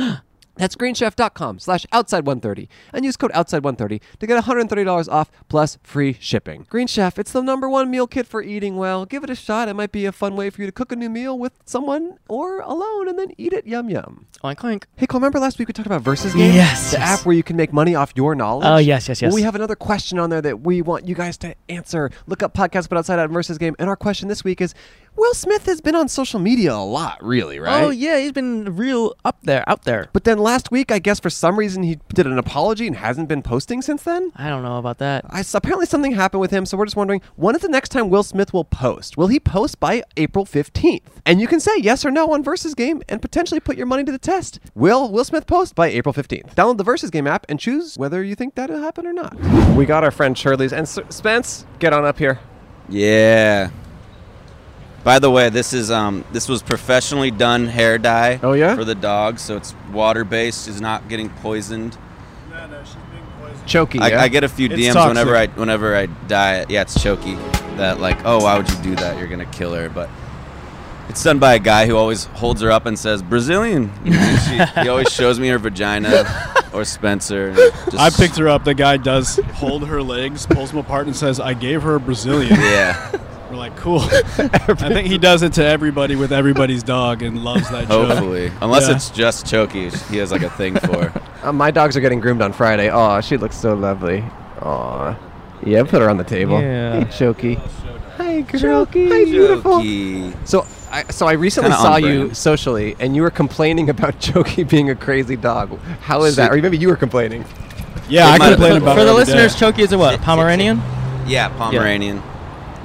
That's greenchef.com slash outside130 and use code outside130 to get $130 off plus free shipping. Green Chef, it's the number one meal kit for eating well. Give it a shot. It might be a fun way for you to cook a new meal with someone or alone and then eat it yum yum. Oink oink. Hey Cole, remember last week we talked about Versus Game? Yes, The yes. app where you can make money off your knowledge? Oh, yes, yes, yes. Well, we have another question on there that we want you guys to answer. Look up Podcast But Outside at Versus Game. And our question this week is Will Smith has been on social media a lot, really, right? Oh yeah, he's been real up there, out there. But then last week, I guess for some reason he did an apology and hasn't been posting since then. I don't know about that. I, s- apparently something happened with him, so we're just wondering when is the next time Will Smith will post? Will he post by April fifteenth? And you can say yes or no on Versus Game and potentially put your money to the test. Will Will Smith post by April fifteenth? Download the Versus Game app and choose whether you think that'll happen or not. We got our friend Shirley's and S- Spence. Get on up here. Yeah. By the way, this is um this was professionally done hair dye. Oh yeah. For the dog, so it's water based. She's not getting poisoned. Choky. I, yeah? I get a few DMs whenever I whenever I dye it. Yeah, it's choky. That like, oh, why would you do that? You're gonna kill her. But it's done by a guy who always holds her up and says Brazilian. And she, he always shows me her vagina or Spencer. and Just, I picked her up. The guy does hold her legs, pulls them apart, and says, "I gave her a Brazilian." Yeah. We're like, cool. I think he does it to everybody with everybody's dog and loves that joke. Hopefully, unless Yeah. it's just choky, he has like a thing for. her. Uh, my dogs are getting groomed on Friday. Aw, she looks so lovely. Aw. Yeah, put her on the table. Yeah. Hey, Choky. Hi, girl. Hi, beautiful. Choky. So, I, so I recently Kinda on saw you brand. socially, and you were complaining about Choki being a crazy dog. How is She- that? Or maybe you were complaining. Yeah, I complain about For it the every listeners, day. Choki is a what? Pomeranian? Yeah, Pomeranian.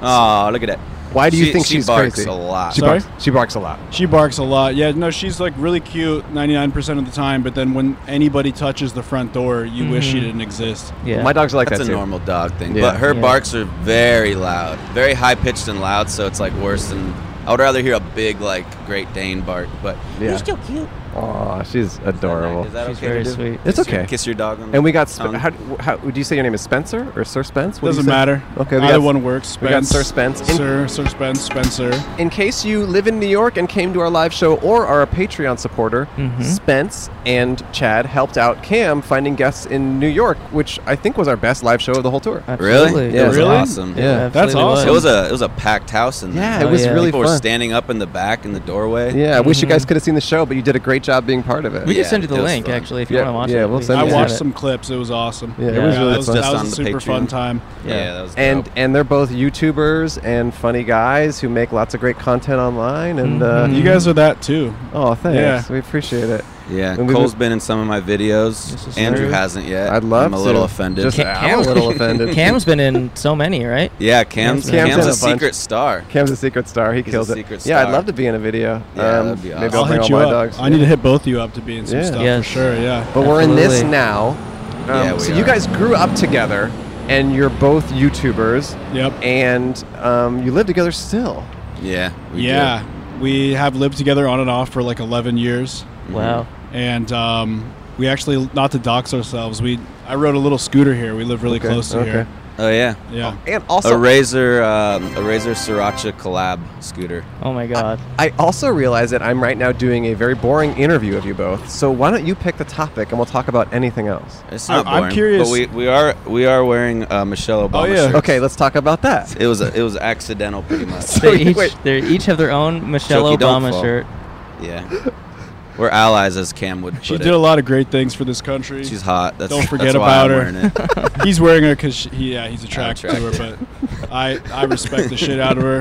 Oh, look at that. Why do you She- think she she's barks crazy? a lot? She Sorry? barks. She barks a lot. She barks a lot. Yeah, no, she's like really cute 99% of the time, but then when anybody touches the front door, you wish she Mm-hmm. Mhm. didn't exist. That's a normal dog thing. Yeah. But her Yeah. barks are very loud, very high pitched and loud. So it's like worse than. I would rather hear a big like Great Dane bark, but Yeah. you're still cute. Aw, she's adorable. Is that She's okay to very do? sweet. It's Kiss your- okay. kiss your dog on And we the got. Sp- tongue. how, do- how would you say your name is Spencer or Sir Spence? What do you Doesn't say? matter. Okay, we Either got- one works. We got Spence, Sir Spence. In- Sir, Sir Spence, Spencer. In case you live in New York and came to our live show or are a Patreon supporter, Mm-hmm. Spence and Chad helped out Cam finding guests in New York, which I think was our best live show of the whole tour. Really? Yeah, It was it was awesome. It was a it was a packed house and Yeah, it Oh, was yeah. really people were fun. standing up in the back in the doorway. Yeah, I wish you guys could have seen the show, but you did a great job being part of it. We can Yeah, send you the it was link, fun. actually, if yeah, yeah, we'll send I you watched some clips. It was awesome. Yeah, it was really that was, fun. that Just was on a the super fun Patreon. time. and and they're both YouTubers and funny guys who make lots of great content online. And uh, Mm-hmm. You guys are that too. Oh, thanks. Yeah. We appreciate it. Yeah, And we Cole's would- been in some of my videos. Andrew true. hasn't yet. I'd love I'm a to. little offended. Just- I'm a little offended. Cam's been in so many, right? Yeah, Cam's Cam's, Cam's in a, a bunch. secret star. Cam's a secret star. He He's a killed it. secret Yeah, I'd star. love to be in a video. Um, Yeah, that'd be Maybe awesome. I'll, I'll hit bring all you my up. dogs. I need to hit both you up to be in some stuff for sure. Yeah, But we're in this Absolutely. now. Um, Yeah, we so you are. guys grew up together, and you're both YouTubers. Yep. And um, you live together still. Yeah. yeah, we have lived together on and off for like 11 years. Wow. And um, we actually, not to dox ourselves, we I rode a little scooter here. We live really Okay, close to okay. here. Oh yeah. Yeah. And also- a razor, um, a razor sriracha collab scooter. Oh my god. I also realize that I'm right now doing a very boring interview of you both. So why don't you pick the topic, and we'll talk about anything else. It's not I- I'm boring, curious- But we, we are we are wearing uh, Michelle Oh, Obama. shirts. Oh, Okay, let's talk about that. It was a, it was accidental, pretty much. they each they each have their own Michelle Choki, don't Obama fall. shirt. Yeah. We're allies, as Cam would. She put did it. a lot of great things for this country. She's hot. That's- Don't forget that's why about I'm her. he's wearing her because he, yeah, he's attracted, to her. attracted. But I, I respect the shit out of her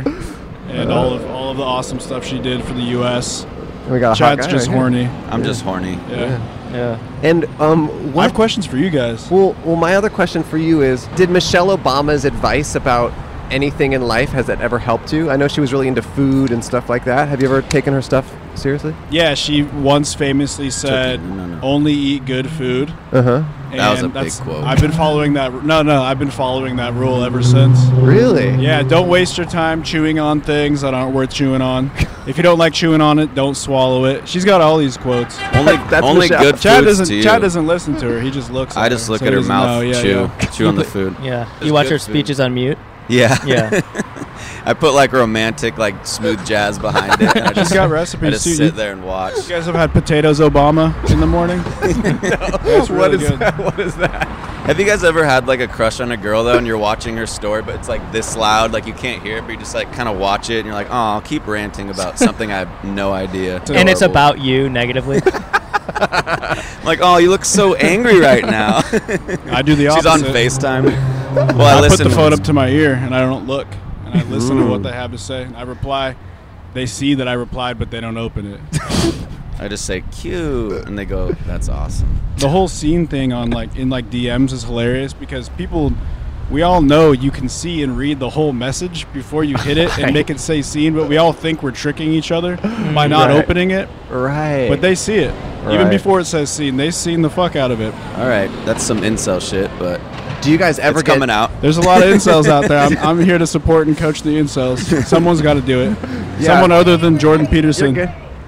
and all of all of the awesome stuff she did for the U.S. We got a hot Chad's guy just right here. horny. I'm just horny. Yeah. Yeah. And um, what, I have questions for you guys. Well, well, my other question for you is: Did Michelle Obama's advice about anything in life has that ever helped you? I know she was really into food and stuff like that. Have you ever taken her stuff seriously? Yeah, she once famously said, "Only eat good food." Uh huh. That was And a big that's- quote. I've been following that. No, no, I've been following that rule ever since. Really? Yeah. Don't waste your time chewing on things that aren't worth chewing on. if you don't like chewing on it, don't swallow it. She's got all these quotes. Only- That's only Michelle. good Chad foods doesn't. to you. Chad doesn't listen to her. He just looks. I just her, look so at he her doesn't mouth, know. Yeah, chew, yeah. chew on the food. Yeah. It's you watch good her food. speeches on mute? Yeah. Yeah. I put like romantic, like smooth jazz behind it. And I She's just got I recipes just too. You- sit there and watch. You guys have had potatoes Obama in the morning. That's What really is good. that? What is that? Have you guys ever had like a crush on a girl though, and you're watching her story, but it's like this loud, like you can't hear it, but you just like kind of watch it, and you're like, oh, I'll keep ranting about something I have no idea. and it's about you negatively. I'm like, oh, you look so angry right now. I do the She's on opposite. FaceTime. Well, I, I, put listen the to phone this. up to my ear and I don't look, and I listen to Ooh. what they have to say. and I reply. They see that I replied, but they don't open it. I just say cute, and they go, that's awesome. the whole scene thing on like in like DMs is hilarious because people we all know you can see and read the whole message before you hit it and make it say scene, but we all think we're tricking each other by Mm. not Right. opening it. Right. But they see it. Even Right. before it says scene, they seen the fuck out of it. All right, that's some incel shit, but do you guys ever it's get- coming out? There's a lot of incels out there. I'm, I'm here to support and coach the incels. Someone's got to do it. Yeah. Someone other than Jordan Peterson.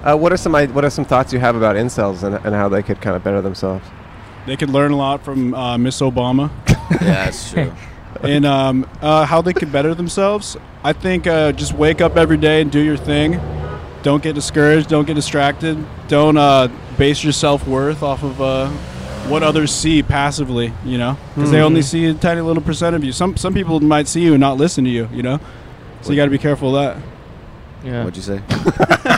Uh, what are some i- what are some thoughts you have about incels and, and how they could kind of better themselves? They could learn a lot from uh, Miss Obama. Yeah, that's true. and um, uh, how they could better themselves. I think uh, just wake up every day and do your thing. Don't get discouraged. Don't get distracted. Don't uh, base your self worth off of uh, what others see passively. You know, because they Mhm. only see a tiny little percent of you. Some some people might see you and not listen to you. You know, so you got to be careful of that. Yeah. What'd you say?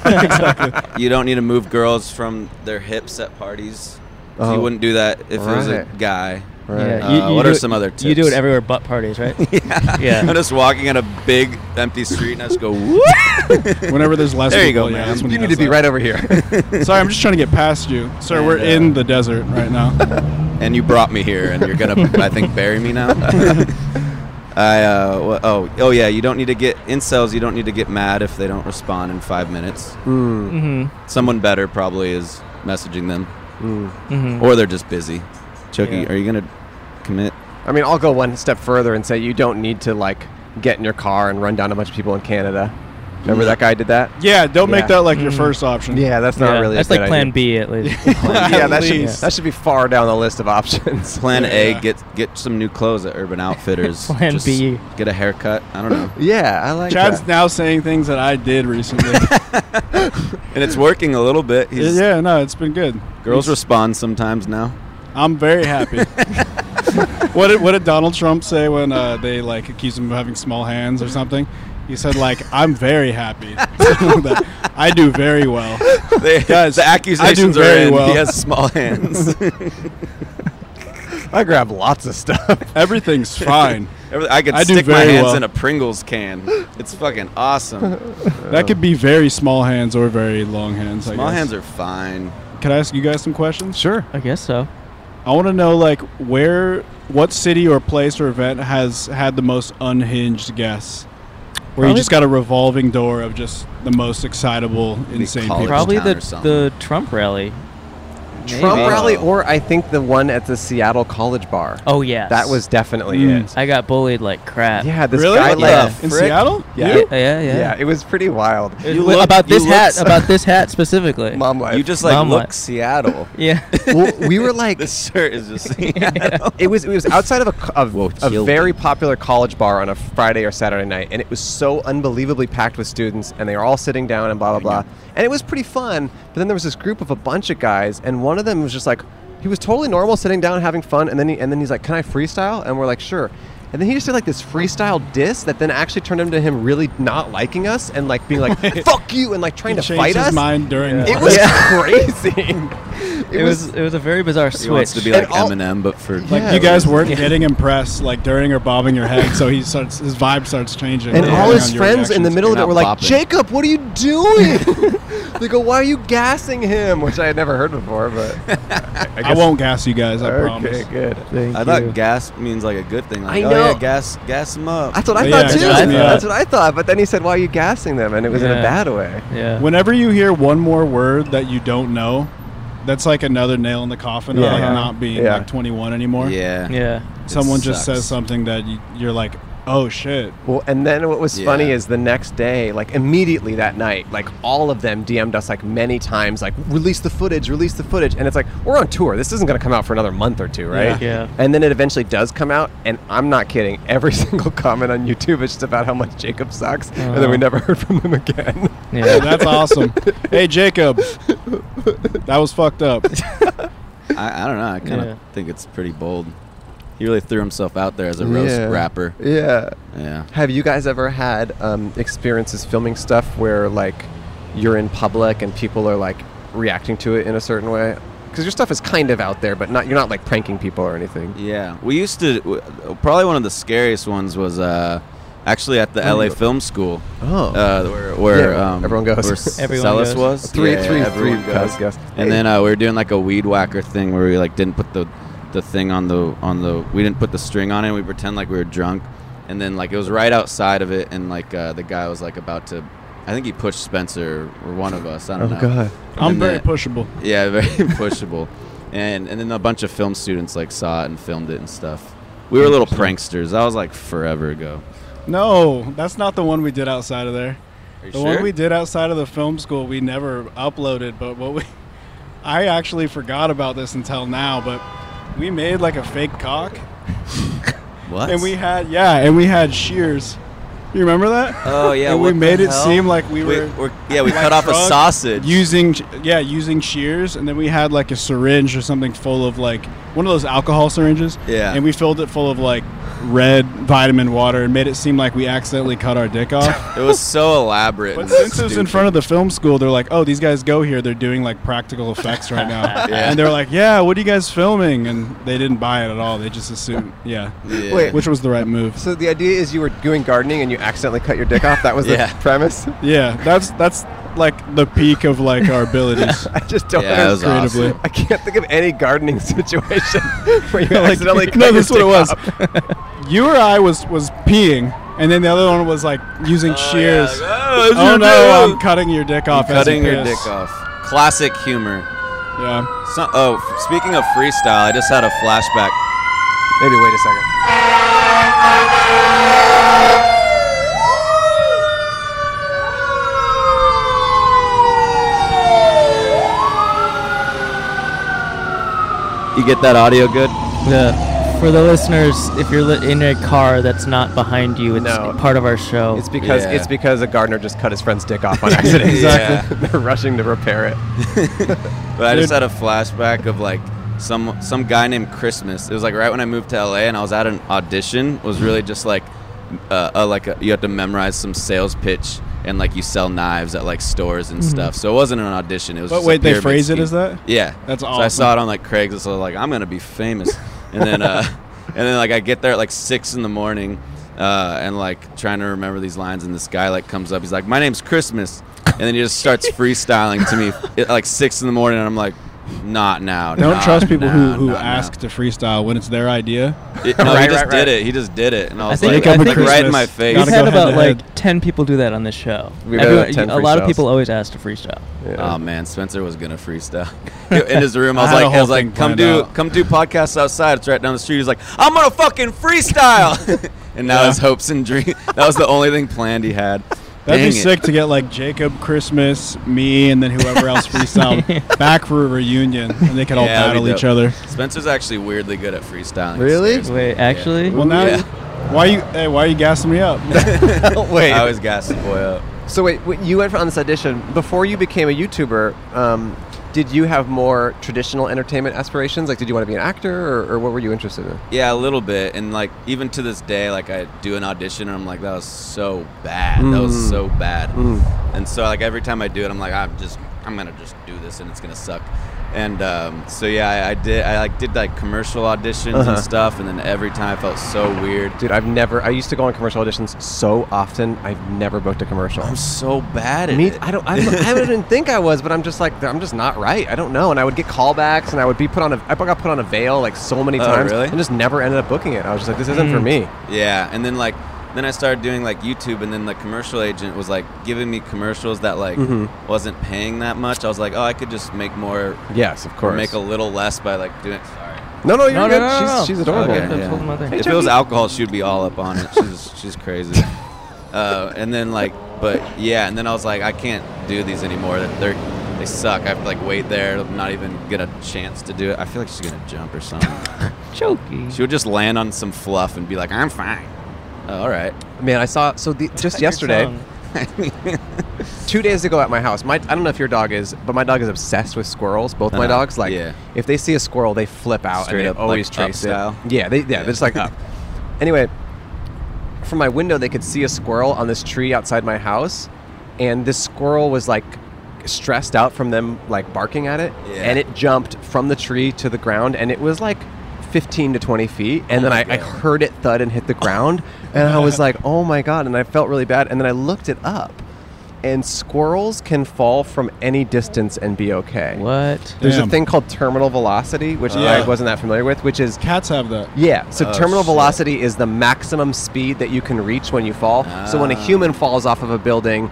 Exactly. You don't need to move girls from their hips at parties. So Oh. You wouldn't do that if it was a Right. guy. Yeah, Uh, what do are it- some other tips? You do it everywhere but parties, right? yeah. Yeah. I'm just walking in a big empty street and I just go. Whenever there's less There you people, go, yeah, man. that's when You he need does to be that. right over here. Sorry, I'm just trying to get past you. Sir, we're And, uh, in the desert right now. and you brought me here, and you're gonna, I think, bury me now. I uh, wha- oh oh yeah, you don't need to get incels. You don't need to get mad if they don't respond in five minutes. Mm. Mhm. Someone better probably is messaging them, Mhm. or they're just busy. Chucky, Hmm. Yeah. are you gonna commit? I mean, I'll go one step further and say you don't need to like get in your car and run down a bunch of people in Canada. Remember that guy did that? Mm. Mm. Yeah, don't make that like your first option. Yeah, that's not Mm. Yeah, really. that's a good like Plan idea. B at least. yeah, that should least. that should be far down the list of options. Plan Yeah. A, get get some new clothes at Urban Outfitters. Plan Just B. get a haircut. I don't know, Yeah, I like Chad's that. now saying things that I did recently. and it's working a little bit. He's, yeah, no, it's been good. Girls He's- respond sometimes now. I'm very happy. what did what did Donald Trump say when uh, they like accused him of having small hands or something? He said like I'm very happy. I do very well. They, Guys, the I do accusations are very in. well. He has small hands. I grab lots of stuff. Everything's fine. Everyth- I could I do stick my very hands well. in a Pringles can. It's fucking awesome. That could be very small hands or very long hands. I Small guess. hands are fine. Can I ask you guys some questions? Sure. I guess so. I want to know like where, what city or place or event has had the most unhinged guests, where you Probably- just got a revolving door of just the most excitable, insane people. Probably the the Trump rally. Trump Maybe. rally, or I think the one at the Seattle College Bar. Oh yes. that was definitely Mm. it. I got bullied like crap. Yeah, this Really? guy What like the a In frick. Seattle? Yeah. You? Yeah, yeah. yeah. It was pretty wild. It was about this hat, about this hat specifically. Mom life. You just like Mom look life. Seattle. Yeah. well, we were like this shirt is just. it was it was outside of a, co- of a chill. very popular college bar on a Friday or Saturday night, and it was so unbelievably packed with students, and they were all sitting down and blah blah blah, and it was pretty fun. But then there was this group of a bunch of guys, and one of them was just like, he was totally normal, sitting down having fun, and then he, and then he's like, "Can I freestyle?" And we're like, "Sure." And then he just did like this freestyle diss that then actually turned into him really not liking us and like being like "fuck you" and like trying He to changed fight his us. mind during it the- was Yeah. crazy. It was it was a very bizarre switch. He wants to be And like all- Eminem, but for Like you guys weren't getting impressed, like during or bobbing your head, so he starts his vibe starts changing. And all depending his on your friends in the reactions. middle of it were like, Jacob, what are you doing? they go, why are you gassing him? Which I had never heard before, but I, I, won't gas you guys. I Okay, promise. good. I thought gas means like a good thing. Like, I Oh, know. yeah, gas, gas them up. That's what I Yeah, thought too. gas 'em up. That's what I thought. But then he said, why are you gassing them? And it was in a Yeah. bad way. Yeah. Whenever you hear one more word that you don't know, that's like another nail in the coffin of like Yeah. not being Yeah. like 21 anymore. Yeah. Yeah. Someone It just sucks. says something that you, you're like, Oh shit. Well, and then what was funny is the next day, like immediately that night, like all of them DM'd us like many times, like release the footage, release the footage, and it's like we're on tour. This isn't going to come out for another month or two, right? Yeah. Yeah. And then it eventually does come out, and I'm not kidding. Every single comment on YouTube is just about how much Jacob sucks, and then Oh. we never heard from him again. Yeah, that's awesome. Hey Jacob, that was fucked up. I, I don't know. I kind of Yeah. think it's pretty bold. He really threw himself out there as a roast Yeah. rapper. Yeah. Yeah. Have you guys ever had um, experiences filming stuff where like you're in public and people are like reacting to it in a certain way? Because your stuff is kind of out there, but not you're not like pranking people or anything. Yeah, we used to. w- Probably one of the scariest ones was uh, actually at the Oh, LA you- Film School. Oh. uh, where, where Yeah, um, everyone goes. Where S- Everyone Celis goes. was. Three- three- everyone three goes. guys guess. And then uh, we were doing like a weed whacker thing where we like didn't put the the thing on the on the we didn't put the string on it. We pretend like we were drunk, and then like it was right outside of it, and like uh, the guy was like about to. I think he pushed Spencer or one of us. I don't Oh, know. God. And I'm then very pushable. Yeah, very pushable. And and then a bunch of film students like saw it and filmed it and stuff. We were little pranksters. That was like forever ago. No, that's not the one we did outside of there. you the sure? one we did outside of the film school we never uploaded, but what we I actually forgot about this until now, but we made like a fake cock. What? And we had yeah, and we had shears. You remember that? Oh yeah. And we what the made it hell? seem like we were, yeah, we like, cut off a drunk sausage. using yeah using shears, and then we had like a syringe or something full of like one of those alcohol syringes. Yeah. and we filled it full of like red vitamin water and made it seem like we accidentally cut our dick off. It was so elaborate. But and since it was in stupid. front of the film school, they're like, "Oh, these guys go here. They're doing like practical effects right now." Yeah. And they're like, "Yeah, what are you guys filming?" And they didn't buy it at all. They just assumed, yeah, Yeah. Wait. which was the right move. So the idea is you were doing gardening and you accidentally cut your dick off. That was Yeah. the premise. Yeah, that's that's like the peak of like our abilities. I just don't Yeah, that was understand. Creatively. I can't think of any gardening situation where you Like, accidentally cut no, your that's what it dick was. off. you or I was was peeing, and then the other one was like using shears. "Oh, it's oh your no, dick." I'm cutting your dick You off. as you Cutting your piss. dick off. Classic humor. Yeah. So, oh, f- speaking of freestyle, I just had a flashback. Maybe wait a second. You get that audio good? The, for the listeners, if you're li- in a car that's not behind you, it's No. part of our show. It's because it's because a gardener just cut his friend's dick off on accident. Exactly. They're rushing to repair it. But I just had Dude. a flashback of like some some guy named Christmas. It was like right when I moved to LA and I was at an audition. Was really just like uh, uh, like a, you have to memorize some sales pitch and like you sell knives at like stores and Mhm. stuff. So it wasn't an audition. It was. But just a wait, they pyramid phrase it scheme. as that? Yeah, That's So I awesome. saw it on like Craigslist. I was like, I'm gonna be famous. And then uh, and then like I get there at like six in the morning. Uh, and like trying to remember these lines, and this guy like comes up. He's like, "My name's Christmas," and then he just starts freestyling to me at like six in the morning, and I'm like, "Not now." Don't not trust people who now, who not now." ask to freestyle when it's their idea. It- no, he just did it. He just did it, and I I was think- like, I like, right think in Christmas. my face. We've had about like ten people do that on this show. We've had Everyone- about 10 a lot freestyles. of people always ask to freestyle. Oh man, Spencer was gonna freestyle in his room. I I was had a like, I whole was thing like, come planned do out. come do podcasts outside. It's right down the street. He's like, I'm gonna fucking freestyle, and now his hopes and dreams. That was the only thing planned he had. That'd Dang be it. sick to get like Jacob, Christmas, me, and then whoever else freestyle back for a reunion, and they could all Yeah, that'd be battle each dope. other. Spencer's actually weirdly good at freestyling. Really? Wait, actually? Well, now, Yeah. why you? Hey, why are you gassing me up? Wait. I always gas the boy up. So wait, wait, you went on this audition before you became a YouTuber. Um, did you have more traditional entertainment aspirations? Like, did you want to be an actor, or, or what were you interested in? Yeah, a little bit, and like even to this day, like I do an audition, and I'm like, that was so bad. That was Mm. so bad. Mm. And so like every time I do it, I'm like, I'm just, I'm gonna just do this, and it's gonna suck. And um, so yeah, I, I did. I like did like commercial auditions Uh-huh. and stuff, and then every time I felt so weird. Dude, I've never. I used to go on commercial auditions so often. I've never booked a commercial. I'm so bad at Me, it. I don't. I'm, I didn't think I was, but I'm just like I'm just not right. I don't know. And I would get callbacks, and I would be put on a. I got put on a veil like so many Oh, times, really? Hmm. and just never ended up booking it. I was just like, this isn't for me. Yeah, and then like then I started doing like YouTube, and then the commercial agent was like giving me commercials that like Mhm. wasn't paying that much. I was like, oh, I could just make more. Yes, of course. Make a little less by like doing. Sorry. No, no, you're No, no, good. no, no, she's, no. she's adorable. Okay, that's all my thing. If it was alcohol, she'd be all up on it. She's she's crazy. Uh, and then like, but yeah, and then I was like, I can't do these anymore. They're they suck. I have to like wait there, not even get a chance to do it. I feel like she's gonna jump or something. Jokey. She would just land on some fluff and be like, I'm fine. Oh, all right. Man, I saw so the, just your yesterday. phone. two days ago at my house, my I don't know if your dog is, but my dog is obsessed with squirrels. Both my Uh-huh. dogs like Yeah. if they see a squirrel, they flip out Straight and they up, like, always up chase it. style? Yeah, they yeah, they're just like up. Anyway, from my window, they could see a squirrel on this tree outside my house, and this squirrel was like stressed out from them like barking at it, Yeah. and it jumped from the tree to the ground, and it was like. 15 to 20 feet and Oh then my I, I heard it thud and hit the ground and i was like oh my god and i felt really bad and then i looked it up and squirrels can fall from any distance and be okay what there's Damn. a thing called terminal velocity which i Yeah. wasn't that familiar with which is Cats have that. yeah. So Oh, terminal shit. velocity is the maximum speed that you can reach when you fall. So when a Ah. human falls off of a building,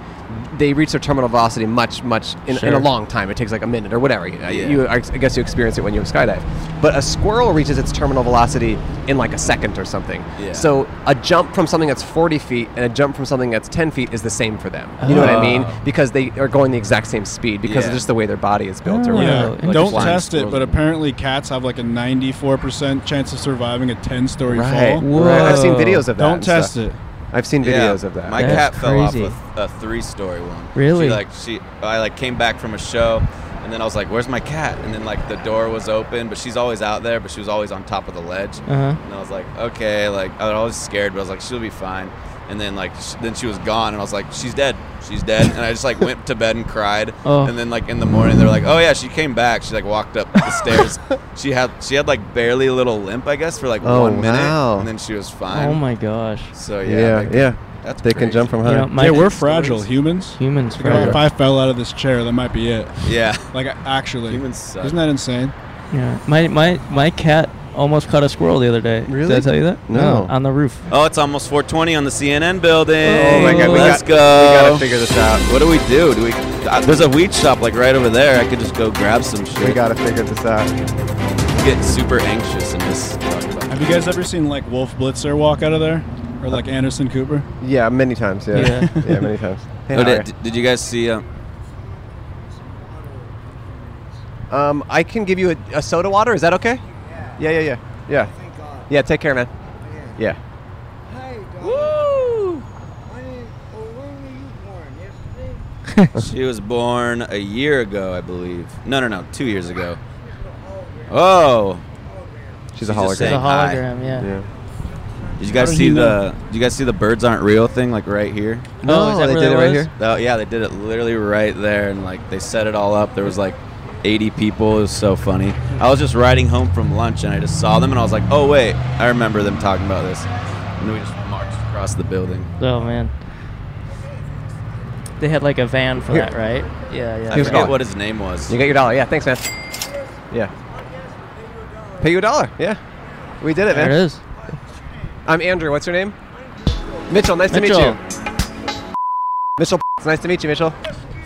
they reach their terminal velocity much, much in, in a Sure. long time. It takes like a minute or whatever. You, Yeah. you- I guess you experience it when you skydive. But a squirrel reaches its terminal velocity in like a second or something. Yeah. So a jump from something that's 40 feet and a jump from something that's 10 feet is the same for them. You know what I mean? Oh. Ah. Because they are going the exact same speed because Yeah. of just the way their body is Oh, built or Oh. Yeah. whatever. Like Don't flying test it, squirrels. but apparently cats have like a 94% chance of surviving a 10 story Right. fall. right. I've seen videos of that. Don't and test stuff. it. I've seen Yeah, videos of that. My cat fell off with a three-story one. Really? She, like she, I like came back from a show, and then I was like, "Where's my cat?" And then like the door was open, but she's always out there, but she was always on top of the ledge. Uh-huh. And I was like, "Okay," like I was always scared, but I was like, "She'll be fine." And then like sh- then she was gone, and I was like, "She's dead. She's dead." And I just like went to bed and cried. Oh. And then like in the morning, they're like, "Oh yeah, she came back." She like walked up the stairs. She had she had like barely a little limp, I guess, for like Oh, one minute, wow. and then she was fine. Oh my gosh. So yeah, Yeah, like, yeah. That's They can jump from You high. know, my- yeah, we're fragile humans. Humans, Like, fragile. if I fell out of this chair, that might be it. Yeah. Like actually, humans suck. isn't that insane? Yeah. My my my cat almost caught a squirrel the other day. Really? Did I tell you that? No. On the roof. Oh, it's almost 420 on the CNN building. Oh my God, we let's got- go. we gotta figure this out. What do we do? Do we? Uh, there's a weed shop like right over there. I could just go grab some shit. We gotta figure this out. Get super anxious in this. Have you guys ever seen like Wolf Blitzer walk out of there, or like Anderson Cooper? Yeah, many times. Yeah, Yeah. yeah, many times. Hey, Oh, how are did, did you guys see? Uh, ya? um, I can give you a, a soda water. Is that okay? Yeah, yeah, yeah, yeah. Yeah, take care, man. Yeah. she was born a year ago, I believe. No, no, no, two years ago. Oh, She's a just hologram. saying She's a hi. hologram, yeah. Yeah. Did you guys How did see he the? know? Did you guys see the birds aren't real thing like right here? No, Oh, is that they where did that it right was? here? Oh, yeah, they did it literally right there, and like they set it all up. There was like 80 people. It was so funny. I was just riding home from lunch, and I just saw them, and I was like, oh wait, I remember them talking about this. And then we just marched across the building. Oh man. They had like a van for Here. that, right? Yeah, yeah. I forget what his name was. You got your dollar. Yeah, thanks, man. Yeah. Pay you a dollar. Yeah. We did it, man. There it is. I'm Andrew. What's your name? Mitchell. Nice to Mitchell. meet you. Mitchell. It's nice to meet you, Mitchell.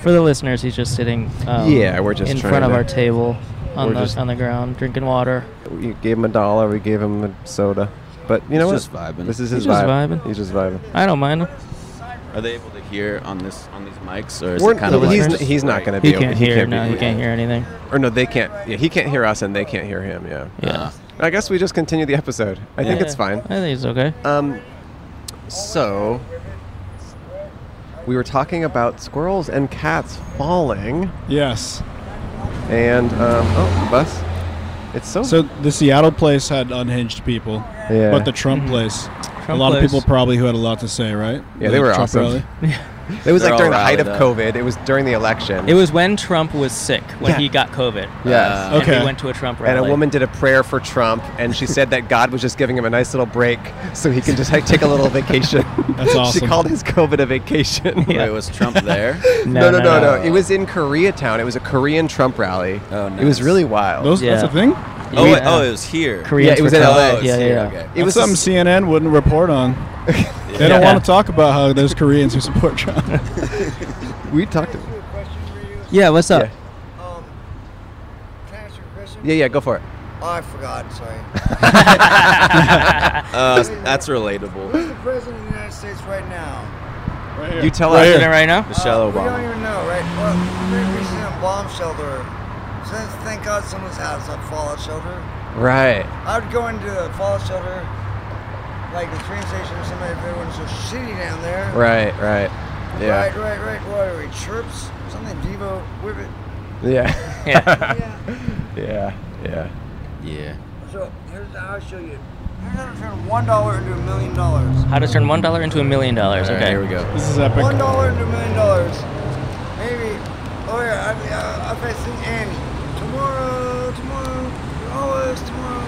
For the listeners, he's just sitting. Um, Yeah, we're just in trying front of to- our table on we're the just- on the ground, drinking water. We gave him a dollar. We gave him a soda. But you know He's just what? vibing. This is He's his just vibe. He's just vibing. I don't mind him. Are they able to hear on this on these mics, or is We're- it kind of like he's, just he's not right? going to be. He able- can't hear. be- No, he can't hear anything. Or no, they can't. Yeah, he can't hear us, and they can't hear him. Yeah. Yeah. I guess we just continue the episode. I think Yeah. it's fine. I think it's okay. Um, so we were talking about squirrels and cats falling, Yes. and um, oh, the bus. It's so. So the Seattle place had unhinged people. Yeah. But the Trump place, a lot of place. people probably who had a lot to say, right? yeah, The they were Trump awesome. rally. It was They're like all during the height rallied of up. COVID. It was during the election. It was when Trump was sick when Yeah. he got COVID. Yes. Uh, And we went to a Trump rally. And a woman did a prayer for Trump, and she said that God was just giving him a nice little break so he can just like, take a little vacation. That's She awesome. called his COVID a vacation. Wait, was Trump there? no, no, no, no, It was in Koreatown. It was a Korean Trump rally. Oh, It nice. was really wild. Those- that's Yeah. a thing? Oh, We- wait, oh, it was here. yeah, it was in Oh, LA. it's here, okay. It was something CNN wouldn't report on. They Yeah. don't want to talk about how there's Koreans who support Trump. we talked. Yeah, what's up? Yeah, yeah, go for it. Oh, I forgot. Sorry. Uh, that's relatable. Who's the president of the United States right now? Uh, here. You tell Right us. here. President right now? Michelle We Obama. don't even know, right? Well, we- we seen a bomb shelter. So thank God someone's house a fallout shelter. Right. I would go into the fallout shelter, like the train station or something. If everyone's so shitty down there. Right, right. Yeah. Right, right, right. What are we? Chirps? Something Devo Whippet. Yeah. Yeah. yeah. Yeah. Yeah. So here's how I'll show you. Here's how to turn one dollar into a million dollars. How to turn one dollar into a million dollars? All right, Okay, here we go. This is epic. One dollar into a million dollars. Maybe. Oh yeah, I've, uh, I've seen Annie. Tomorrow, tomorrow, always tomorrow.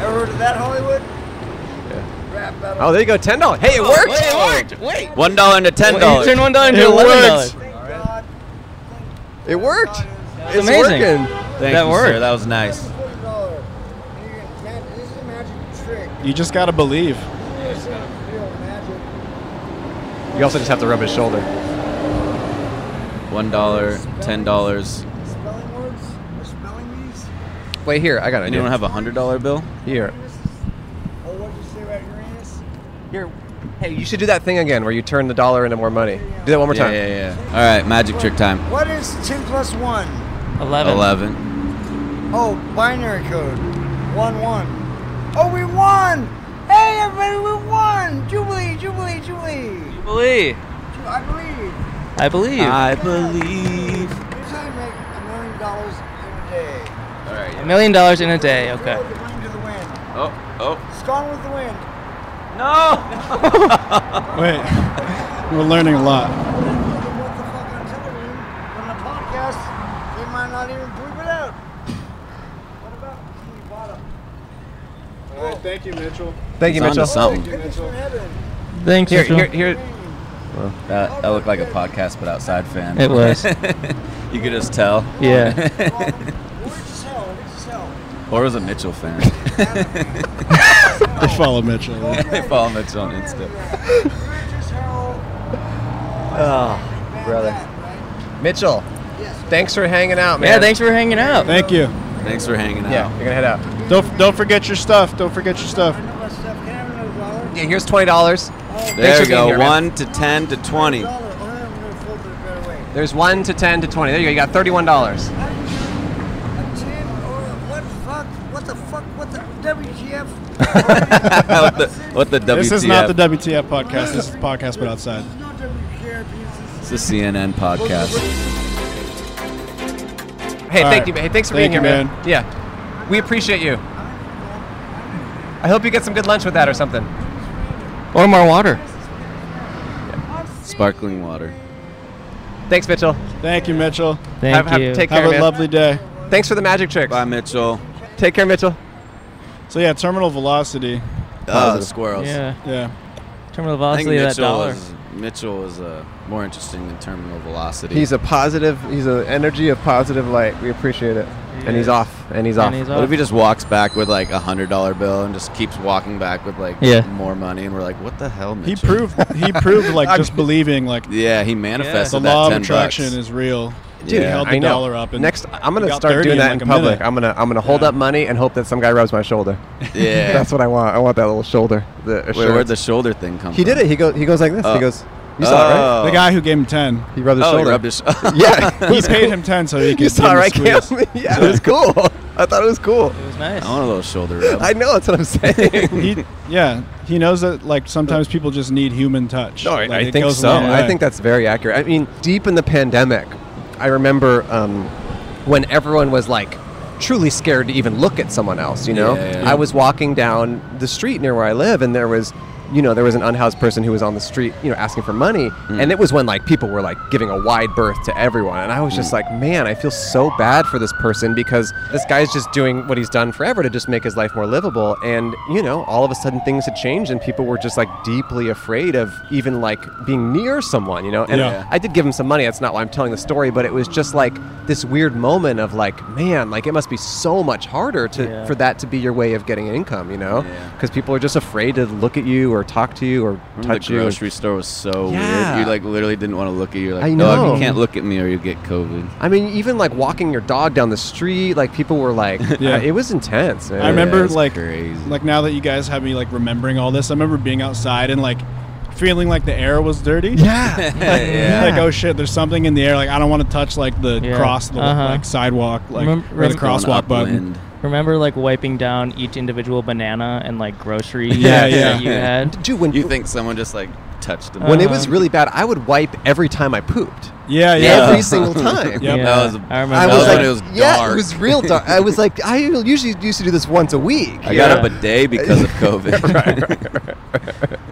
Ever heard of that Hollywood? Yeah. Rap battle. Oh, there you go. Ten dollars. Hey, it Oh, worked. wait, it worked. Wait. One dollar into ten dollars. Turn one dollar into It eleven worked. dollars. It worked. It's amazing. working. Thank That you, worked. sir. That was nice. This is a magic trick. You just gotta believe. This is real magic. You also just have to rub his shoulder. One dollar, ten dollars. Spelling words? Or spelling bees? Wait here, I got it. Anyone have a hundred dollar bill? Here. Or what did Oh, you say about Uranus? Here. Hey, you should do that thing again where you turn the dollar into more money. Do that one more Yeah, time. yeah, yeah. All right, magic trick time. What is 10 plus 1? Eleven. Eleven. Oh, binary code. 1 1. Oh, we won! Hey, everybody, we won! Jubilee, Jubilee, Jubilee! Jubilee. Ju- I believe. I believe. I believe. Here's how you make a million dollars in a day. All right. A million dollars in a day. Okay. Go with the wind to the wind. Oh, oh. It's gone with the wind. No! Wait, we're learning a lot. On the podcast, they might not even bleep it out. What about Bikini Bottom? All right, thank you, Mitchell. Thank you, It's onto something. Mitchell. Thank you, Mitchell. Thanks, Here, Mitchell. here, here. Well, that, that looked like a podcast, but outside fan. It was. you could just tell. Yeah. or was a Mitchell fan. They follow Mitchell. they follow Mitchell on Insta. Oh, brother. Mitchell. Thanks for hanging out, man. Yeah, thanks for hanging out. Thank you. Thanks for hanging out. Yeah, you're gonna head out. Don't don't forget your stuff. Don't forget your stuff. Yeah, here's twenty dollars. There we go. One to ten to twenty. There's one to ten to twenty. There you go. You got thirty-one dollars. What the fuck? What the fuck? What the WTF? what, the, what the WTF? This is not the WTF podcast. This is the podcast, but outside. It's the CNN podcast. Hey, All thank right. you. man. Hey, thanks for Thank being you, here, man. Yeah, we appreciate you. I hope you get some good lunch with that or something. Or more water. Sparkling water. Thanks, Mitchell. Thank you, Mitchell. Thank have, have- you. Take Have care, a man. lovely day. Thanks for the magic tricks. Bye, Mitchell. Take care, Mitchell. So yeah, terminal velocity. Oh, the squirrels. Yeah. Yeah. Terminal I think velocity of that Mitchell dollar. Was, Mitchell was uh, more interesting than terminal velocity. He's a positive. He's an energy of positive light. We appreciate it. And he's off. And he's off. What if he just walks back with like a hundred dollar bill and just keeps walking back with like Yeah. more money, and we're like, what the hell? He Mitchell? proved he proved like I'm- just believing like Yeah, he manifested the law that 10 of attraction bucks. is real. Dude, he held the I know. dollar up. And Next, I'm he gonna got start 30 doing that in, like, a public. minute. I'm gonna I'm gonna hold up money and hope that some guy rubs my shoulder. Yeah. That's what I want. I want that little shoulder. The Wait, assurance. where'd the shoulder thing come He from? did it. He goes. He goes like this. Uh, Oh. He goes. You saw it, Oh. right? The guy who gave him ten. He rubbed his Oh, he shoulder. rubbed his- yeah. he paid him ten so he could. You saw it, give right, him a Cam? squeeze. yeah, it was cool. I thought it was cool. It was nice. I want a little shoulder rub. I know. That's what I'm saying. he, yeah, he knows that like sometimes people just need human touch. No, I, Like, I it think goes a so. long I way. think that's very accurate. I mean, deep in the pandemic, I remember um, when everyone was like truly scared to even look at someone else. You know, Yeah, yeah, yeah. I was walking down the street near where I live, and there was. You know, there was an unhoused person who was on the street, you know, asking for money. Hmm. And it was when, like, people were, like, giving a wide berth to everyone. And I was Hmm. just like, man, I feel so bad for this person because this guy's just doing what he's done forever to just make his life more livable. And, you know, all of a sudden things had changed and people were just, like, deeply afraid of even, like, being near someone, you know? And Yeah. I did give him some money. That's not why I'm telling the story, but it was just like this weird moment of like, man, like it must be so much harder to Yeah. for that to be your way of getting an income, you know? Because people are just afraid to look at you or talk to you or Remember touch the you. and- grocery store was so Yeah. weird. You like literally didn't want to look at you. You're like, I dog, know. you can't look at me or you get COVID. I mean, even like walking your dog down the street, like people were like, Yeah. uh, it was intense. man. I remember like like now that you guys have me like remembering all this, I remember being outside and like feeling like the air was dirty. Yeah. like, Yeah. like, oh shit, there's something in the air. Like I don't want to touch like the Yeah. cross the Uh-huh. like sidewalk like Remem- or the remem- crosswalk button. Remember, like wiping down each individual banana and like grocery Yeah, that you had. Dude, when you think someone just like touched them. when it was really bad, I would wipe every time I pooped. Yeah, Every single time. Yeah, That was, I remember I was was like, when it was dark. Yeah, it was real dark. I was like, I usually used to do this once a week. I got a bidet because of COVID.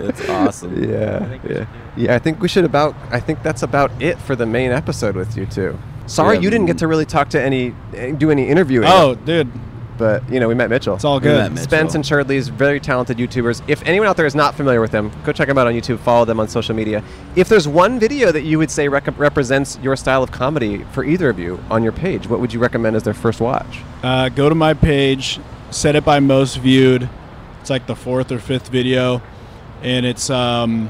It's awesome. I Yeah, think we yeah, yeah. I think we should about. I think that's about it for the main episode with you two. Sorry, Yeah, you didn't get to really talk to any, eh, do any interviewing. Oh, dude. But you know, we met Mitchell. It's all We good. met Mitchell. Spence and Shardley's very talented YouTubers. If anyone out there is not familiar with them, go check them out on YouTube. Follow them on social media. If there's one video that you would say rec- represents your style of comedy for either of you on your page, what would you recommend as their first watch? Uh, go to my page, set it by most viewed. It's like the fourth or fifth video, and it's um,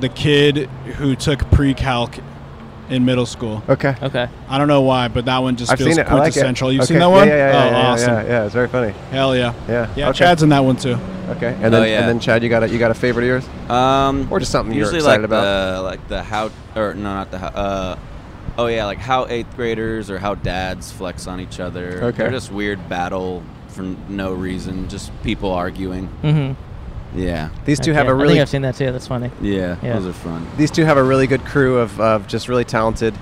the kid who took pre-calc in middle school. Okay. Okay. I don't know why, but that one just I've feels seen it. I like it. quintessential. You've Okay. seen that Yeah, one? yeah, yeah, oh, yeah, yeah, awesome. yeah, yeah. It's very funny. Hell yeah. Yeah. Yeah, Okay. Chad's in that one too. Okay. And then, Oh, yeah. and then Chad, you got a, you got a favorite of yours? Um, or just something you're usually excited like about? The, like the how or no, not the how. Uh, oh yeah, like how eighth graders or how dads flex on each other. Okay. They're just weird battle for no reason, just people arguing. Mhm. Yeah. These two Okay, have a I really think I've seen that too. That's funny. Yeah, those are fun. These two have a really good crew of, of just really talented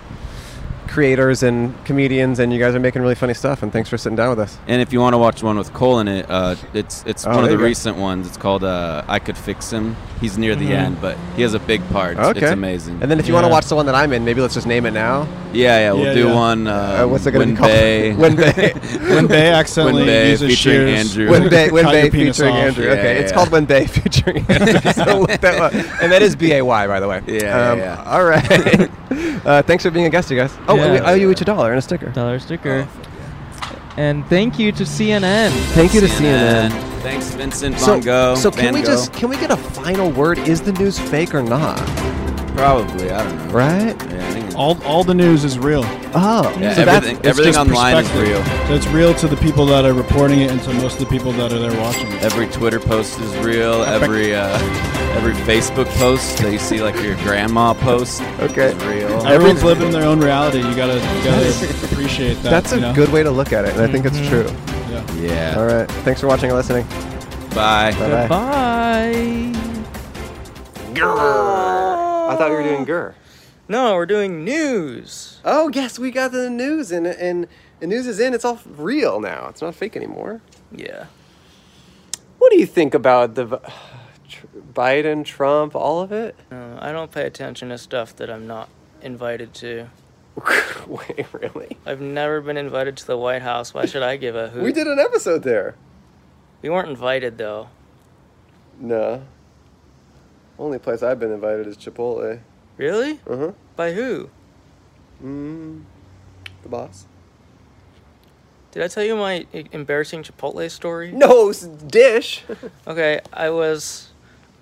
creators and comedians, and you guys are making really funny stuff. And thanks for sitting down with us. And if you want to watch one with Cole in it, uh, it's it's Oh, one of there the you go. recent ones. It's called uh, "I Could Fix Him." He's near the Mhm. end, but he has a big part. It's- Okay, It's amazing. And then if you want to watch the one that I'm in, maybe let's just name it now. Yeah, yeah, we'll Yeah, do yeah. one. Um, Uh, what's it gonna be Win called? Bay. Win Bay. Win Bay accidentally Win Bay uses featuring shears. Andrew. When Bay, when Cut Bay your penis featuring off. Andrew. Yeah, okay, yeah, it's yeah. called When Bay featuring Andrew. so look that up. And that is B A Y, by the way. Um, Yeah, yeah, yeah. All right. uh, thanks for being a guest, you guys. Oh, and we Yeah. owe you each a dollar and a sticker. Dollar sticker. And thank you to CNN. Thank you to CNN. Thanks, Vincent So, Van Gogh. so can Van we Gogh. just can we get a final word? Is the news fake or not? probably? I don't know. Right? Yeah, I think it's- All, all the news is real. Oh, Yeah, so that's- everything- it's everything just online is perspective. real. So it's real to the people that are reporting it, and to most of the people that are there watching it. every Twitter post is real. Every uh, every Facebook post that you see, like your grandma post, okay, is real. Everyone's living their own reality. You gotta, you gotta appreciate that. That's you a know? good way to look at it, and I think Mm-hmm. it's Mhm. true. Yeah. Yeah. All right. Thanks for watching and listening. Bye. Bye-bye. Goodbye. I thought we were doing Gur. No, we're doing news. Oh yes, we got the news, and and the news is in. It's all real now. It's not fake anymore. Yeah. What do you think about the v- Tr- Biden, Trump, all of it? Uh, I don't pay attention to stuff that I'm not invited to. Wait, really? I've never been invited to the White House. Why should I give a hoot? We did an episode there. We weren't invited though. No. Only place I've been invited is Chipotle. Really? Uh huh. By who? Mm, the boss. Did I tell you my e- embarrassing Chipotle story? No, s- dish. Okay, I was,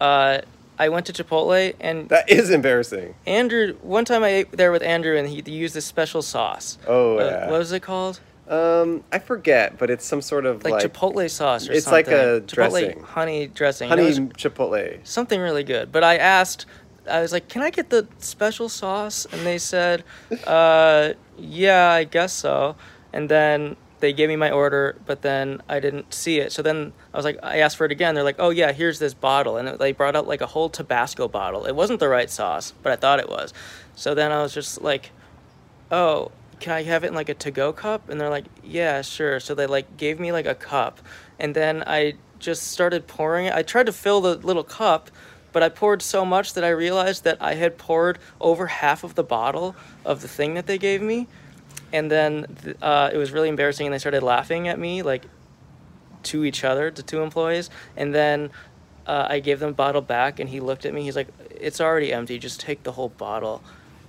uh, I went to Chipotle and That is embarrassing. Andrew. One time I ate there with Andrew and he, he used this special sauce. Oh, Uh, yeah. What was it called? Um, I forget, but it's some sort of Like, like, Chipotle sauce or it's something. like a Chipotle dressing. honey dressing. That honey was Chipotle. something really good. But I asked, I was like, "Can I get the special sauce?" And they said, uh, "Yeah, I guess so." And then they gave me my order, but then I didn't see it. So then I was like, I asked for it again. They're like, "Oh yeah, here's this bottle." And it- they brought out like a whole Tabasco bottle. It wasn't the right sauce, but I thought it was. So then I was just like, "Oh." Can I have it in like a to-go cup? And they're like, "Yeah, sure." So they like gave me like a cup, and then I just started pouring it. I tried to fill the little cup, but I poured so much that I realized that I had poured over half of the bottle of the thing that they gave me. And then th- uh, it was really embarrassing, and they started laughing at me, like to each other, to two employees. And then uh, I gave them the bottle back, and he looked at me. He's like, It's already empty. Just take the whole bottle.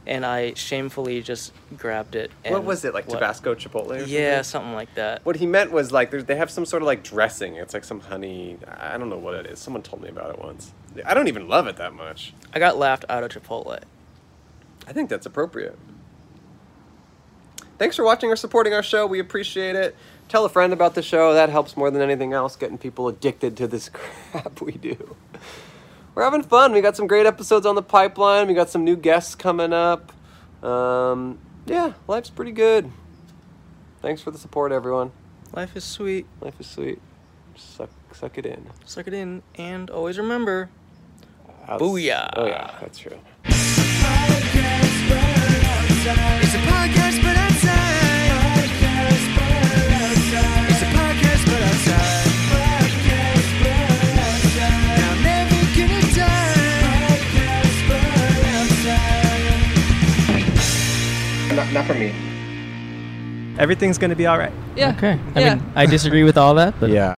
and I shamefully just grabbed it. And What was it like? what- Tabasco chipotle? Or Yeah, something like that. What he meant was like there's- they have some sort of like dressing. It's like some honey. I don't know what it is. Someone told me about it once. I don't even love it that much. I got laughed out of Chipotle. I think that's appropriate. Thanks for watching or supporting our show. We appreciate it. Tell a friend about the show. That helps more than anything else, getting people addicted to this crap we do. We're having fun. We got some great episodes on the pipeline. We got some new guests coming up. Um, yeah, life's pretty good. Thanks for the support, everyone. Life is sweet. Life is sweet. Suck, suck it in. Suck it in, and always remember. Outs- Booyah. Oh, yeah, that's true. It's a podcast, but outside. It's a podcast, but outside. Now I'm never gonna die. Not, not for me. Everything's going to be all right. Yeah. Okay. Yeah. I disagree with all that, but yeah.